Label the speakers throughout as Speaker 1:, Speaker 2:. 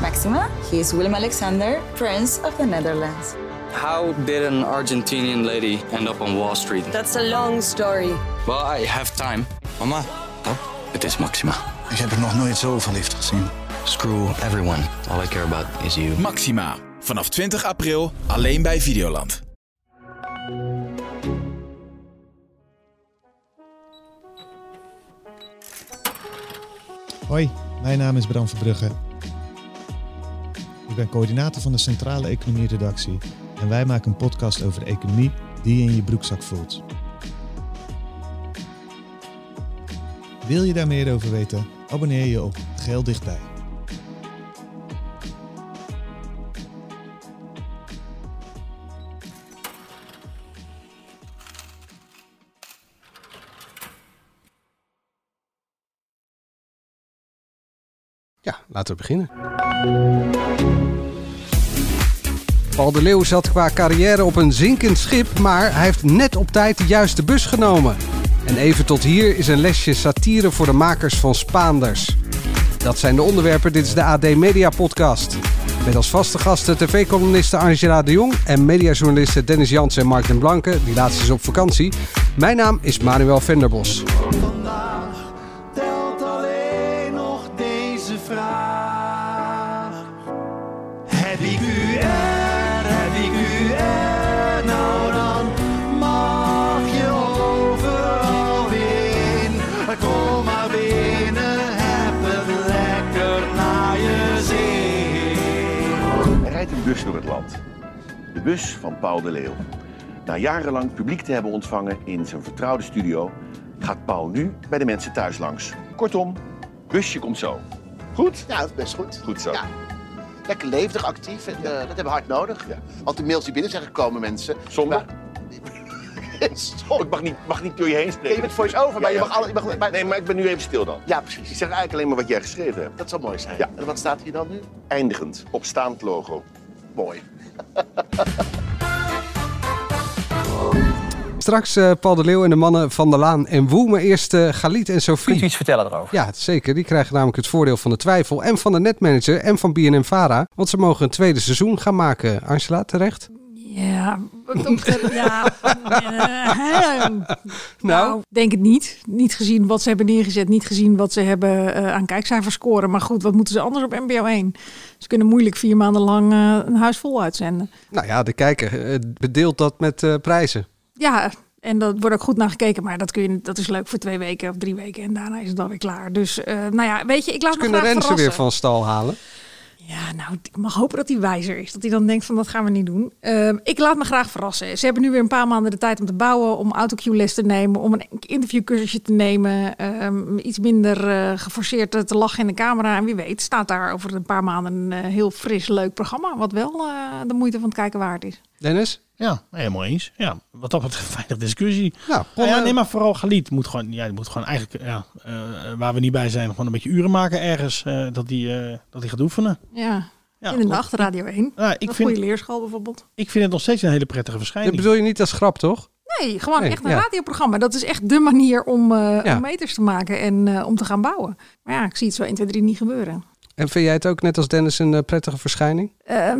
Speaker 1: Maxima. He is Willem Alexander, Prince of the Netherlands.
Speaker 2: How did an Argentinian lady end up on Wall Street?
Speaker 3: That's a long story.
Speaker 2: Well, I have time.
Speaker 4: Mama,
Speaker 2: Het is Maxima.
Speaker 5: Ik heb er nog nooit zo verliefd gezien.
Speaker 2: Screw everyone. All I care about is you.
Speaker 6: Maxima. Vanaf 20 april alleen bij Videoland.
Speaker 7: Hoi, mijn naam is Bram Verbrugge. Ik ben coördinator van de Centrale Economie Redactie en wij maken een podcast over de economie die je in je broekzak voelt. Wil je daar meer over weten? Abonneer je op Geel Dichtbij.
Speaker 8: Ja, laten we beginnen. Paul de Leeuw zat qua carrière op een zinkend schip, maar hij heeft net op tijd de juiste bus genomen. En even tot hier is een lesje satire voor de makers van Spaanders. Dat zijn de onderwerpen, dit is de AD Media Podcast. Met als vaste gasten tv-columniste Angela de Jong en mediajournalisten Dennis Jans en Mark den Blanke, die laatste is op vakantie. Mijn naam is Manuel Venderbos.
Speaker 9: Vandaag telt alleen nog deze vraag. Heb ik u er, heb ik u er, nou dan mag je overal in. Kom maar binnen, heb het lekker naar je zin.
Speaker 10: Er rijdt een bus door het land. De bus van Paul de Leeuw. Na jarenlang publiek te hebben ontvangen in zijn vertrouwde studio, gaat Paul nu bij de mensen thuis langs. Kortom, busje komt zo. Goed?
Speaker 11: Ja, dat is best goed.
Speaker 10: Goed zo.
Speaker 11: Ja. Lekker levendig, actief. En, eh, dat hebben we hard nodig.
Speaker 10: Ja.
Speaker 11: Want de mails die binnen zijn gekomen, mensen.
Speaker 10: Zonder?
Speaker 11: Stop.
Speaker 10: Ik mag niet, mag niet door je heen
Speaker 11: Nee,
Speaker 10: spreken.
Speaker 11: je bent voice-over, maar
Speaker 10: Ja,
Speaker 11: je
Speaker 10: ja.
Speaker 11: mag alle. Je mag, maar-
Speaker 10: Nee, maar ik ben nu even stil dan.
Speaker 11: Ja,
Speaker 10: Ik
Speaker 11: precies.
Speaker 10: zeg eigenlijk alleen maar wat jij geschreven hebt.
Speaker 11: Dat zou mooi zijn.
Speaker 10: Ja.
Speaker 11: En wat staat hier dan nu?
Speaker 10: Eindigend, op staand logo.
Speaker 11: Mooi.
Speaker 8: Straks eh, Paul de Leeuw en de mannen van de Laan en Woe, maar eerst eh Galit en Sophie.
Speaker 12: Kunt u iets vertellen erover?
Speaker 8: Ja, zeker. Die krijgen namelijk het voordeel van de twijfel en van de netmanager en van BNM Vara. Want ze mogen een tweede seizoen gaan maken. Angela, terecht?
Speaker 13: Ja, dokter, ja. eh, nou, denk het niet. Niet gezien wat ze hebben neergezet, niet gezien wat ze hebben eh, aan kijkcijfers scoren. Maar goed, wat moeten ze anders op NPO 1? Ze kunnen moeilijk vier maanden lang eh, een huis vol uitzenden.
Speaker 8: Nou ja, de kijker eh, bedeelt dat met eh, prijzen.
Speaker 13: Ja, en dat wordt ook goed naar gekeken. Maar dat, kun je, dat is leuk voor twee weken of drie weken. En daarna is het alweer klaar. Dus eh, nou ja, weet je, ik laat
Speaker 8: Ze
Speaker 13: me
Speaker 8: kunnen
Speaker 13: graag
Speaker 8: Rensen
Speaker 13: verrassen.
Speaker 8: weer van stal halen.
Speaker 13: Ja, nou, ik mag hopen dat hij wijzer is. Dat hij dan denkt van dat gaan we niet doen. Ehm, ik laat me graag verrassen. Ze hebben nu weer een paar maanden de tijd om te bouwen, om autocue-les te nemen, om een interviewcursusje te nemen, ehm, iets minder eh, geforceerd eh, te lachen in de camera. En wie weet staat daar over een paar maanden een eh, heel fris, leuk programma, wat wel eh, de moeite van het kijken waard is.
Speaker 8: Dennis?
Speaker 14: Ja, helemaal eens. Ja, wat dat betreft weinig discussie.
Speaker 8: Nou,
Speaker 14: Nou ja,
Speaker 8: eh,
Speaker 14: nee, maar vooral Galit moet gewoon, ja, die moet gewoon eigenlijk, ja, eh, waar we niet bij zijn, gewoon een beetje uren maken ergens eh, dat die, eh, dat die gaat oefenen.
Speaker 13: Ja, in de
Speaker 14: klopt.
Speaker 13: nacht, Radio 1.
Speaker 14: Ja, ik
Speaker 13: een
Speaker 14: vind-
Speaker 13: goede leerschool bijvoorbeeld.
Speaker 14: Ik vind het nog steeds een hele prettige
Speaker 8: Dat
Speaker 14: verschijning.
Speaker 8: bedoel je niet als grap, toch?
Speaker 13: Nee, gewoon
Speaker 8: Nee,
Speaker 13: echt een
Speaker 8: ja.
Speaker 13: radioprogramma. Dat is echt dé manier om, eh,
Speaker 8: Ja.
Speaker 13: om meters te maken en eh, om te gaan bouwen. Maar ja, ik zie het zo 1, 2, 3 niet gebeuren.
Speaker 8: En vind jij het ook net als Dennis een eh, prettige verschijning?
Speaker 13: Ehm,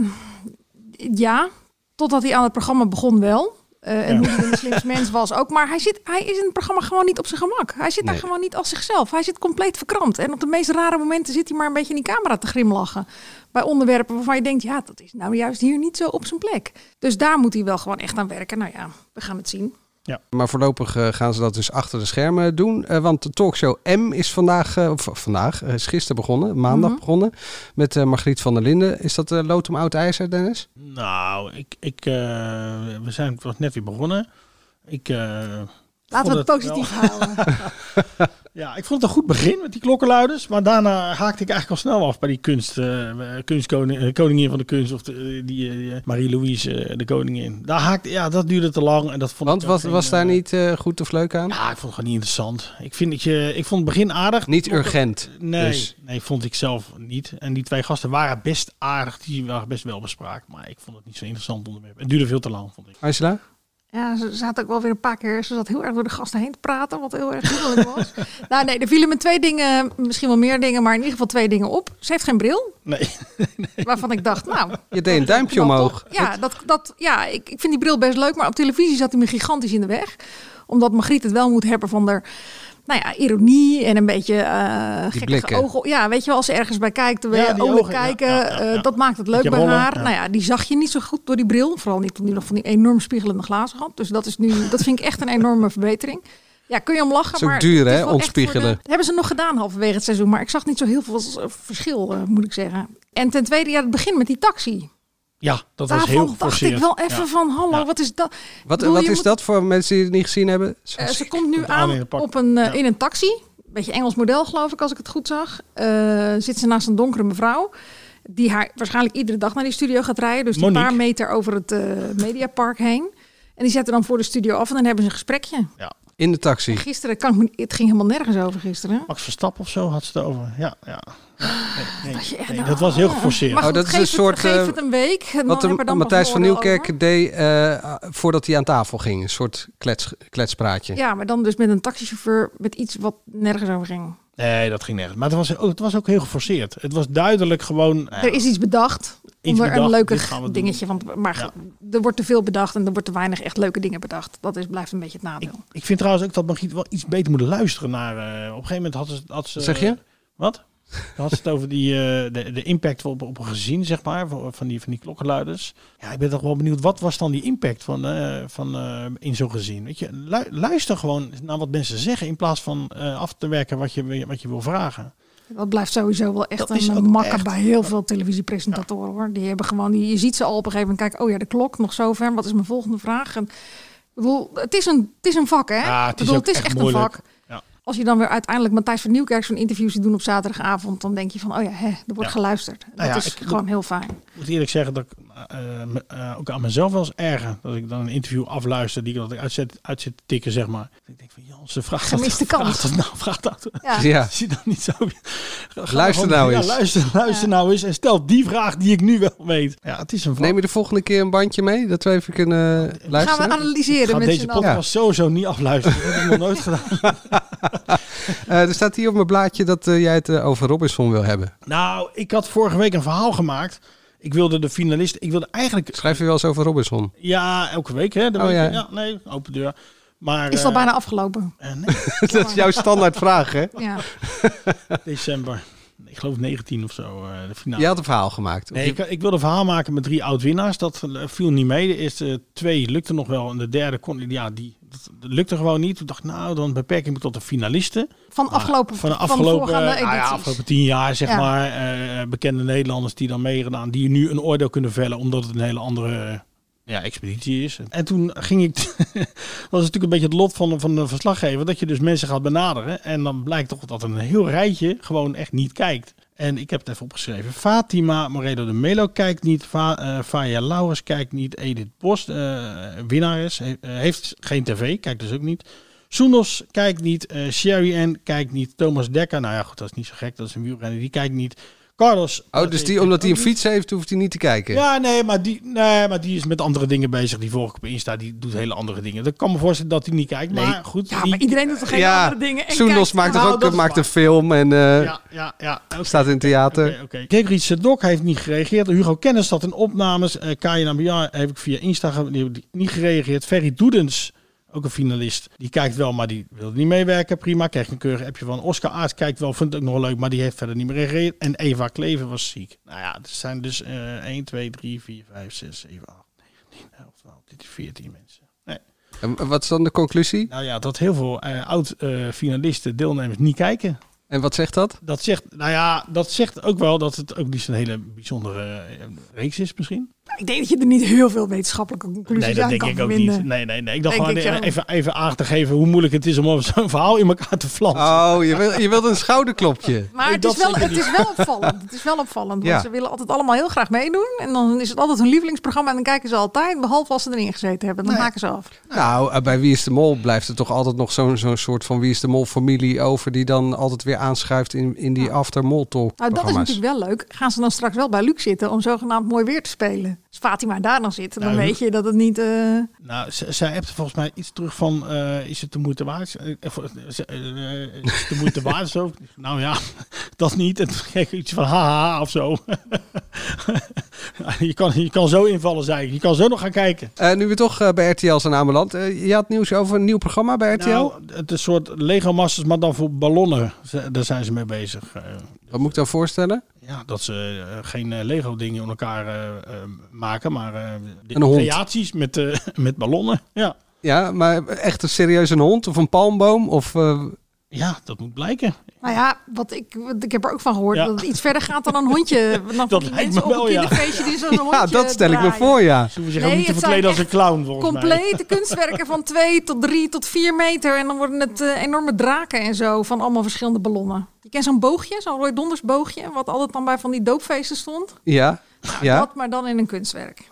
Speaker 13: ja, totdat hij aan het programma begon wel. Eh, en
Speaker 8: Ja.
Speaker 13: hoe hij de slimste mens was ook. Maar hij, zit, hij is in het programma gewoon niet op zijn gemak. Hij zit daar
Speaker 8: Nee.
Speaker 13: gewoon niet als zichzelf. Hij zit compleet verkrampt. En op de meest rare momenten zit hij maar een beetje in die camera te grimlachen. Bij onderwerpen waarvan je denkt, ja, dat is nou juist hier niet zo op zijn plek. Dus daar moet hij wel gewoon echt aan werken. Nou ja, we gaan het zien.
Speaker 8: Maar voorlopig eh, gaan ze dat dus achter de schermen doen. Eh, want de talkshow M is vandaag, eh, of vandaag, eh, is gisteren begonnen, maandag
Speaker 13: Mhm.
Speaker 8: begonnen. Met eh, Margriet van der Linden. Is dat eh lood om oud ijzer, Dennis?
Speaker 14: Nou, ik, ik, eh, we zijn pas net weer begonnen. Ik, eh, vond
Speaker 13: Laten we het
Speaker 14: wel-
Speaker 13: positief houden.
Speaker 14: Ja, ik vond het een goed begin met die klokkenluiders. Maar daarna haakte ik eigenlijk al snel af bij die kunst, eh, kunstkoning, eh, koningin van de kunst. Of de, eh, die eh, Marie-Louise, eh, de koningin. Daar haakte, ja, dat duurde te lang. En dat vond
Speaker 8: Want
Speaker 14: ik ook
Speaker 8: wat,
Speaker 14: geen,
Speaker 8: was daar
Speaker 14: eh,
Speaker 8: niet eh, goed of leuk aan?
Speaker 14: Ja, ik vond het gewoon niet interessant. Ik, vind dat je, ik vond het begin aardig.
Speaker 8: Niet
Speaker 14: Klokken-
Speaker 8: urgent.
Speaker 14: Nee,
Speaker 8: dus.
Speaker 14: nee, vond ik zelf niet. En die twee gasten waren best aardig. Die waren best wel bespraakt. Maar ik vond het niet zo interessant onderwerp. Het duurde veel te lang, vond ik.
Speaker 8: Angela?
Speaker 13: Ja, ze zaten ook wel weer een paar keer. Ze zat heel erg door de gasten heen te praten, wat heel erg duidelijk was. nou, nee, er vielen me twee dingen, misschien wel meer dingen, maar in ieder geval twee dingen op. Ze heeft geen bril,
Speaker 14: Nee.
Speaker 13: waarvan ik dacht, nou.
Speaker 8: Je deed een duimpje
Speaker 13: knap toch?
Speaker 8: omhoog.
Speaker 13: Ja, dat, dat, ja ik, ik vind die bril best leuk, maar op televisie zat hij me gigantisch in de weg. Omdat Margriet het wel moet hebben van haar, nou ja, ironie en een beetje eh gekke
Speaker 8: blikken.
Speaker 13: ogen. Ja, weet je wel, als ze ergens bij kijkt, dan wil
Speaker 14: Ja,
Speaker 13: je
Speaker 14: die
Speaker 13: ogen
Speaker 14: ogen, ja,
Speaker 13: kijken.
Speaker 14: ja, ja,
Speaker 13: eh,
Speaker 14: ja.
Speaker 13: dat maakt het leuk
Speaker 14: Beetje
Speaker 13: bij
Speaker 14: rollen,
Speaker 13: haar.
Speaker 14: ja.
Speaker 13: Nou ja, die zag je niet zo goed door die bril. Vooral niet omdat die nog van die enorm spiegelende glazen had. Dus dat is nu, dat vind ik echt een enorme verbetering. Ja, kun je om lachen,
Speaker 8: Is ook
Speaker 13: maar
Speaker 8: duur,
Speaker 13: het
Speaker 8: hè,
Speaker 13: wel echt
Speaker 8: ontspiegelen.
Speaker 13: voor de- Dat hebben ze nog gedaan halverwege het seizoen, maar ik zag niet zo heel veel eh, verschil, eh, moet ik zeggen. En ten tweede, ja, het begin met die taxi.
Speaker 14: Ja, dat was
Speaker 13: Daarvan
Speaker 14: heel
Speaker 13: dacht
Speaker 14: geforceerd.
Speaker 13: ik wel even
Speaker 14: Ja.
Speaker 13: van, hallo,
Speaker 14: Ja.
Speaker 13: wat is dat? Ik
Speaker 8: Wat,
Speaker 13: bedoel,
Speaker 8: wat
Speaker 13: je
Speaker 8: is
Speaker 13: moet-
Speaker 8: dat voor mensen die het niet gezien hebben?
Speaker 13: eh, ze komt nu
Speaker 14: Komt
Speaker 13: aan
Speaker 14: aan in een pak.
Speaker 13: op een, eh,
Speaker 14: Ja.
Speaker 13: in een taxi. Beetje Engels model, geloof ik, als ik het goed zag. Eh, zit ze naast een donkere mevrouw. Die haar waarschijnlijk iedere dag naar die studio gaat rijden. Dus die een
Speaker 14: Monique.
Speaker 13: paar meter over het eh, Mediapark heen. En die zetten dan voor de studio af en dan hebben ze een gesprekje.
Speaker 8: In de taxi.
Speaker 13: Gisteren kan ik me, het ging helemaal nergens over gisteren.
Speaker 14: Max Verstappen of zo had ze het over. Ja, ja. Nee, nee,
Speaker 13: je echt
Speaker 14: nee,
Speaker 13: nou-
Speaker 14: dat was heel geforceerd.
Speaker 13: Maar
Speaker 8: Oh,
Speaker 13: goed,
Speaker 8: dat is
Speaker 13: geef
Speaker 8: een
Speaker 13: het-
Speaker 8: soort, eh,
Speaker 13: Geef het een week. en
Speaker 8: Wat
Speaker 13: dan
Speaker 8: de-
Speaker 13: hebben we dan
Speaker 8: Matthijs
Speaker 13: pas
Speaker 8: van
Speaker 13: oordeel
Speaker 8: Nieuwkerk
Speaker 13: over.
Speaker 8: deed eh, voordat hij aan tafel ging. Een soort klets, kletspraatje.
Speaker 13: Ja, maar dan dus met een taxichauffeur met iets wat nergens over ging.
Speaker 14: Nee, dat ging nergens. Maar het was, ook- het was ook heel geforceerd. Het was duidelijk gewoon... nou ja,
Speaker 13: Er is iets bedacht.
Speaker 14: Iets bedacht,
Speaker 13: onder een
Speaker 14: dit gaan we
Speaker 13: leukig
Speaker 14: doen.
Speaker 13: dingetje. Want, maar
Speaker 14: Ja.
Speaker 13: er wordt te veel bedacht en er wordt te weinig echt leuke dingen bedacht. Dat is, blijft een beetje het nadeel.
Speaker 14: ik, ik vind trouwens ook dat Margriet wel iets beter moet luisteren naar... eh, op een gegeven moment had ze... Had ze
Speaker 8: Wat zeg je?
Speaker 14: Wat? Dan had ze het over die, eh, de, de impact op, op een gezin, zeg maar, van van die, van die klokkenluiders. Ja, ik ben toch wel benieuwd, wat was dan die impact van, eh, van, eh, in zo'n gezin? Weet je, lu- luister gewoon naar wat mensen zeggen in plaats van eh, af te werken wat je, wat je wil vragen.
Speaker 13: dat blijft sowieso wel echt
Speaker 14: Dat is
Speaker 13: een
Speaker 14: ook
Speaker 13: makker
Speaker 14: echt-
Speaker 13: bij heel veel televisiepresentatoren. Hoor. Die hebben gewoon, die, je ziet ze al op een gegeven moment kijken. Oh ja, de klok nog zo ver. Wat is mijn volgende vraag? En, ik bedoel, het, is een, het is een vak, hè?
Speaker 14: Ja,
Speaker 13: Ik
Speaker 14: het is
Speaker 13: bedoel,
Speaker 14: ook echt moeilijk. Ja.
Speaker 13: Als je dan weer uiteindelijk Matthijs van Nieuwkerk zo'n interview ziet doen op zaterdagavond, dan denk je van, oh ja, hè, er wordt
Speaker 14: Ja. Nou
Speaker 13: geluisterd. Dat
Speaker 14: ja,
Speaker 13: is
Speaker 14: ik-
Speaker 13: gewoon heel fijn.
Speaker 14: Ik moet eerlijk zeggen dat ik eh, me- eh, ook aan mezelf wel eens erger. Dat ik dan een interview afluister die ik, dat ik uitzet, uitzet te tikken, zeg maar. Dat ik denk van, Jan, ze vraagt
Speaker 13: Gemiste
Speaker 14: dat,
Speaker 13: kans.
Speaker 14: Vraagt dat nou, vraagt dat.
Speaker 13: Ja.
Speaker 8: Ja.
Speaker 14: Zie dan niet zo. Ga
Speaker 8: Luister
Speaker 14: gewoon-
Speaker 8: nou
Speaker 14: ja,
Speaker 8: eens.
Speaker 14: Luister, luister nou eens en stel die vraag die ik nu wel weet. Ja, het is een vraag.
Speaker 8: Neem je de volgende keer een bandje mee? Dat we even kunnen eh,
Speaker 13: Gaan we
Speaker 8: luisteren.
Speaker 14: Ik
Speaker 13: analyseren
Speaker 14: ga
Speaker 13: met
Speaker 14: deze
Speaker 13: z'n allen.
Speaker 14: podcast sowieso niet afluisteren. Dat heb ik nog nooit gedaan.
Speaker 8: Eh, er staat hier op mijn blaadje dat eh, jij het eh, over Robinson wil hebben.
Speaker 14: Nou, ik had vorige week een verhaal gemaakt. Ik wilde de finalist. Ik wilde eigenlijk.
Speaker 8: Schrijf je wel eens over Robinson?
Speaker 14: Ja, elke week hè. de
Speaker 8: Oh,
Speaker 14: week-
Speaker 8: ja.
Speaker 14: nee, open deur. Maar,
Speaker 13: Is al
Speaker 14: eh,
Speaker 13: bijna afgelopen.
Speaker 14: eh, nee,
Speaker 8: dat is jouw standaardvraag, hè?
Speaker 13: Ja.
Speaker 14: december. Ik geloof 19 of zo. eh, de finale.
Speaker 8: Je had een verhaal gemaakt.
Speaker 14: Nee, ik, ik wilde een verhaal maken met drie oud-winnaars. Dat eh, viel niet mee. De eerste twee lukte nog wel. En de derde kon... Ja, die dat, dat lukte gewoon niet. Toen dacht ik, nou, dan beperk ik me tot de finalisten.
Speaker 13: Van afgelopen,
Speaker 14: Ah, Van de
Speaker 13: van
Speaker 14: afgelopen,
Speaker 13: voorgaande
Speaker 14: eh, nou ja,
Speaker 13: edities.
Speaker 14: afgelopen tien jaar, zeg
Speaker 13: Ja.
Speaker 14: maar. eh, bekende Nederlanders die dan meegedaan. Die nu een oordeel kunnen vellen. Omdat het een hele andere... eh, ja, expeditie is. En toen ging ik... dat was natuurlijk een beetje het lot van de, van de verslaggever. Dat je dus mensen gaat benaderen. En dan blijkt toch dat een heel rijtje gewoon echt niet kijkt. En ik heb het even opgeschreven. Fatima Moredo de Melo kijkt niet. Fa, eh, Faya Lauwers kijkt niet. Edith Bos, eh winnaar is, he- eh, heeft geen tv. Kijkt dus ook niet. Soenos kijkt niet. eh Sherry Ann kijkt niet. Thomas Dekker. Nou ja, goed, dat is niet zo gek. Dat is een wielrenner. Die kijkt niet. Carlos.
Speaker 8: Oh, dus die, omdat hij een fiets heeft, hoeft hij niet te kijken.
Speaker 14: Ja, nee maar, die, nee, maar die is met andere dingen bezig. Die volg ik op Insta. Die doet hele andere dingen. Dat kan me voorstellen dat hij niet kijkt. Maar goed.
Speaker 13: Ja,
Speaker 14: die-
Speaker 13: maar iedereen doet toch geen
Speaker 8: Ja,
Speaker 13: andere dingen. En
Speaker 8: Soendos
Speaker 13: kijkt-
Speaker 8: maakt,
Speaker 14: Nou,
Speaker 8: toch ook,
Speaker 14: dat is
Speaker 8: maakt
Speaker 14: waar.
Speaker 8: een film en eh,
Speaker 14: ja, ja, ja. oké.
Speaker 8: staat in het theater.
Speaker 14: Oké, oké. Gregory Sedok heeft niet gereageerd. Hugo Kennis zat in opnames. Eh Kajan Ambiar heb ik via Insta ge- die hebben niet gereageerd. Ferry Doedens, ook een finalist. Die kijkt wel, maar die wilde niet meewerken. Prima, kreeg een keurig appje van. Oscar Aert kijkt wel, vindt het ook nog leuk, maar die heeft verder niet meer gereageerd. En Eva Kleven was ziek. Nou ja, er zijn dus eh 1, 2, 3, 4, 5, 6, 7, 8, 9, 10, 11, 12, 13, 14 mensen. Nee.
Speaker 8: En wat is dan de conclusie?
Speaker 14: Nou ja, dat heel veel oud-finalisten, deelnemers, niet kijken.
Speaker 8: En wat zegt dat?
Speaker 14: Dat zegt, nou ja, dat zegt ook wel dat het ook niet zo'n hele bijzondere eh, reeks is misschien.
Speaker 13: Ik denk dat je er niet heel veel wetenschappelijke conclusies
Speaker 14: nee, dat
Speaker 13: aan
Speaker 14: denk
Speaker 13: kan
Speaker 14: ik ook
Speaker 13: verbinden.
Speaker 14: niet. Nee, nee, nee. Ik dacht
Speaker 13: Denk
Speaker 14: gewoon
Speaker 13: ik zo.
Speaker 14: even, even aan te geven hoe moeilijk het is om zo'n verhaal in elkaar te flansen.
Speaker 8: Oh, je, wil, je wilt een schouderklopje.
Speaker 13: Maar
Speaker 14: Nee,
Speaker 13: het is,
Speaker 14: dat
Speaker 13: wel,
Speaker 14: zeker
Speaker 13: het is wel opvallend. Het is wel opvallend.
Speaker 8: Ja.
Speaker 13: Want ze willen altijd allemaal heel graag meedoen. En dan is het altijd hun lievelingsprogramma. En dan kijken ze altijd. Behalve als ze erin gezeten hebben. Dan haken ze af.
Speaker 8: Nou, eh, bij Wie is de Mol blijft er toch altijd nog zo'n zo'n soort van Wie is de Mol familie over... die dan altijd weer aanschuift in, in die after mol talk
Speaker 13: Nou, dat is
Speaker 8: programma's.
Speaker 13: natuurlijk wel leuk. Gaan ze dan straks wel bij Luc zitten om zogenaamd mooi weer te spelen? als Fatima daar dan zit, dan
Speaker 14: Nou,
Speaker 13: weet je dat het niet... eh,
Speaker 14: Nou, z- zij hebt volgens mij iets terug van, eh, is het de moeite waard? Eh, eh, voor- eh, ze- eh, eh, is het de moeite waard zo? Nou ja, dat niet. En toen kreeg ik iets van haha of zo. je, kan, je kan zo invallen, zei ik. Je kan zo nog gaan kijken.
Speaker 8: Eh, nu we toch eh, bij RTL zijn aanbeland. Eh, je had nieuws over een nieuw programma bij RTL?
Speaker 14: Nou, het is een soort Lego Masters, maar dan voor ballonnen. Ze- Daar zijn ze mee bezig. Eh,
Speaker 8: Wat moet ik dan voorstellen?
Speaker 14: ja, dat ze eh, geen eh, Lego dingen onder elkaar eh, eh, maken, maar eh, de-
Speaker 8: Een hond.
Speaker 14: creaties met, eh, met ballonnen. Ja.
Speaker 8: Ja, maar echt een serieus een hond of een palmboom? Of, eh,
Speaker 14: ja, dat moet blijken.
Speaker 13: Nou ja, wat ik, wat ik heb er ook van gehoord
Speaker 14: Ja.
Speaker 13: dat het iets verder gaat dan een hondje. Dan
Speaker 14: Dat
Speaker 13: die
Speaker 14: lijkt
Speaker 13: mensen
Speaker 14: me
Speaker 13: op een
Speaker 14: wel, ja.
Speaker 13: kinderfeestje die zo'n hondje
Speaker 8: ja, dat stel ik me
Speaker 13: draaien.
Speaker 8: voor, ja.
Speaker 14: Ze hoeven zich
Speaker 13: Nee,
Speaker 14: ook niet te
Speaker 13: het zijn
Speaker 14: verkleden als een
Speaker 13: echt
Speaker 14: clown, volgens mij.
Speaker 13: Complete kunstwerken van 2 tot 3 tot 4 meter. En dan worden het eh, enorme draken en zo van allemaal verschillende ballonnen. Je kent zo'n boogje, zo'n Roy Donders boogje, wat altijd dan bij van die doopfeesten stond.
Speaker 8: Ja, ja.
Speaker 13: Nou, Dat maar dan in een kunstwerk.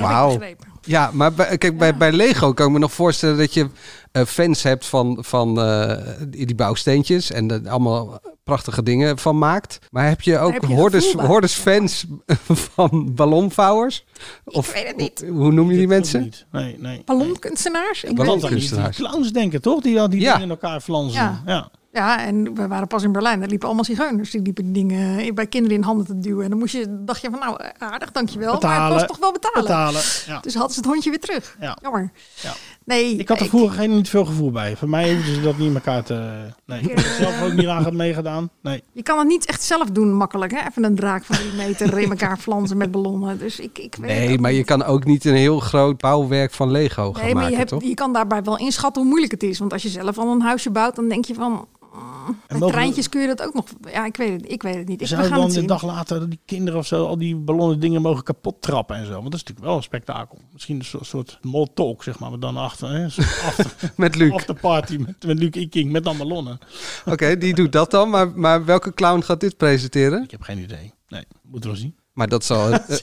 Speaker 8: Wauw.
Speaker 13: Begrepen.
Speaker 8: Ja, maar bij, kijk, bij, bij Lego kan ik me nog voorstellen dat je eh, fans hebt van, van eh, die die bouwsteentjes en er allemaal prachtige dingen van maakt. Maar heb je ook
Speaker 13: heb je
Speaker 8: hordes,
Speaker 13: gevoel bij.
Speaker 8: hordes fans van ballonvouwers? Of
Speaker 13: weet het niet.
Speaker 8: hoe noem je die mensen?
Speaker 14: Niet. Nee, nee.
Speaker 13: Ballonkunstenaars? Ik weet
Speaker 14: Want
Speaker 13: het
Speaker 14: dan
Speaker 13: niet.
Speaker 14: die, die
Speaker 8: kunstenaars.
Speaker 14: clowns denken toch, die dan die
Speaker 8: Ja.
Speaker 14: dingen in elkaar flansen.
Speaker 13: Ja. Oh,
Speaker 14: Ja.
Speaker 13: Ja, en we waren pas in Berlijn. Daar liepen allemaal zigeuners. Die liepen die dingen bij kinderen in handen te duwen. En dan moest je, dacht je van nou, aardig, dankjewel. Maar het
Speaker 14: Betalen.
Speaker 13: was toch wel betalen.
Speaker 14: Betalen. Ja.
Speaker 13: Dus hadden ze het hondje weer terug.
Speaker 14: Ja.
Speaker 13: Jammer.
Speaker 14: Ja.
Speaker 13: Nee,
Speaker 14: Ik had er vroeger geen, niet veel gevoel bij. Voor mij hoefden ze dat niet in elkaar te... Nee, ik heb er zelf ook niet aan meegedaan. Nee.
Speaker 13: je kan het niet echt zelf doen makkelijk. Hè? Even een draak van drie meter in elkaar flansen met ballonnen. Dus ik, ik weet het
Speaker 8: Nee,
Speaker 13: ook
Speaker 8: maar je
Speaker 13: niet.
Speaker 8: kan ook niet een heel groot bouwwerk van Lego gaan
Speaker 13: Nee, maar
Speaker 8: maken,
Speaker 13: je,
Speaker 8: toch?
Speaker 13: hebt, je kan daarbij wel inschatten hoe moeilijk het is. Want als je zelf al een huisje bouwt, dan denk je van... mm, Met
Speaker 14: mogen we-
Speaker 13: treintjes kun je dat ook nog... Ja, ik weet het, ik weet het niet. Ik, we
Speaker 14: Zou
Speaker 13: gaan
Speaker 14: dan
Speaker 13: het
Speaker 14: de
Speaker 13: zien.
Speaker 14: dag later dat die kinderen of zo al die ballonnen dingen mogen kapot trappen en zo? Want dat is natuurlijk wel een spektakel. Misschien een soort, soort mall talk, zeg maar, maar dan achter. Hè? Een soort after,
Speaker 8: Met Luc.
Speaker 14: after party met, met Luc Iking, met dan ballonnen.
Speaker 8: Oké, die doet dat dan. Maar, maar welke clown gaat dit presenteren?
Speaker 14: Ik heb geen idee. Nee, moeten we wel zien.
Speaker 8: Maar dat zal... eh,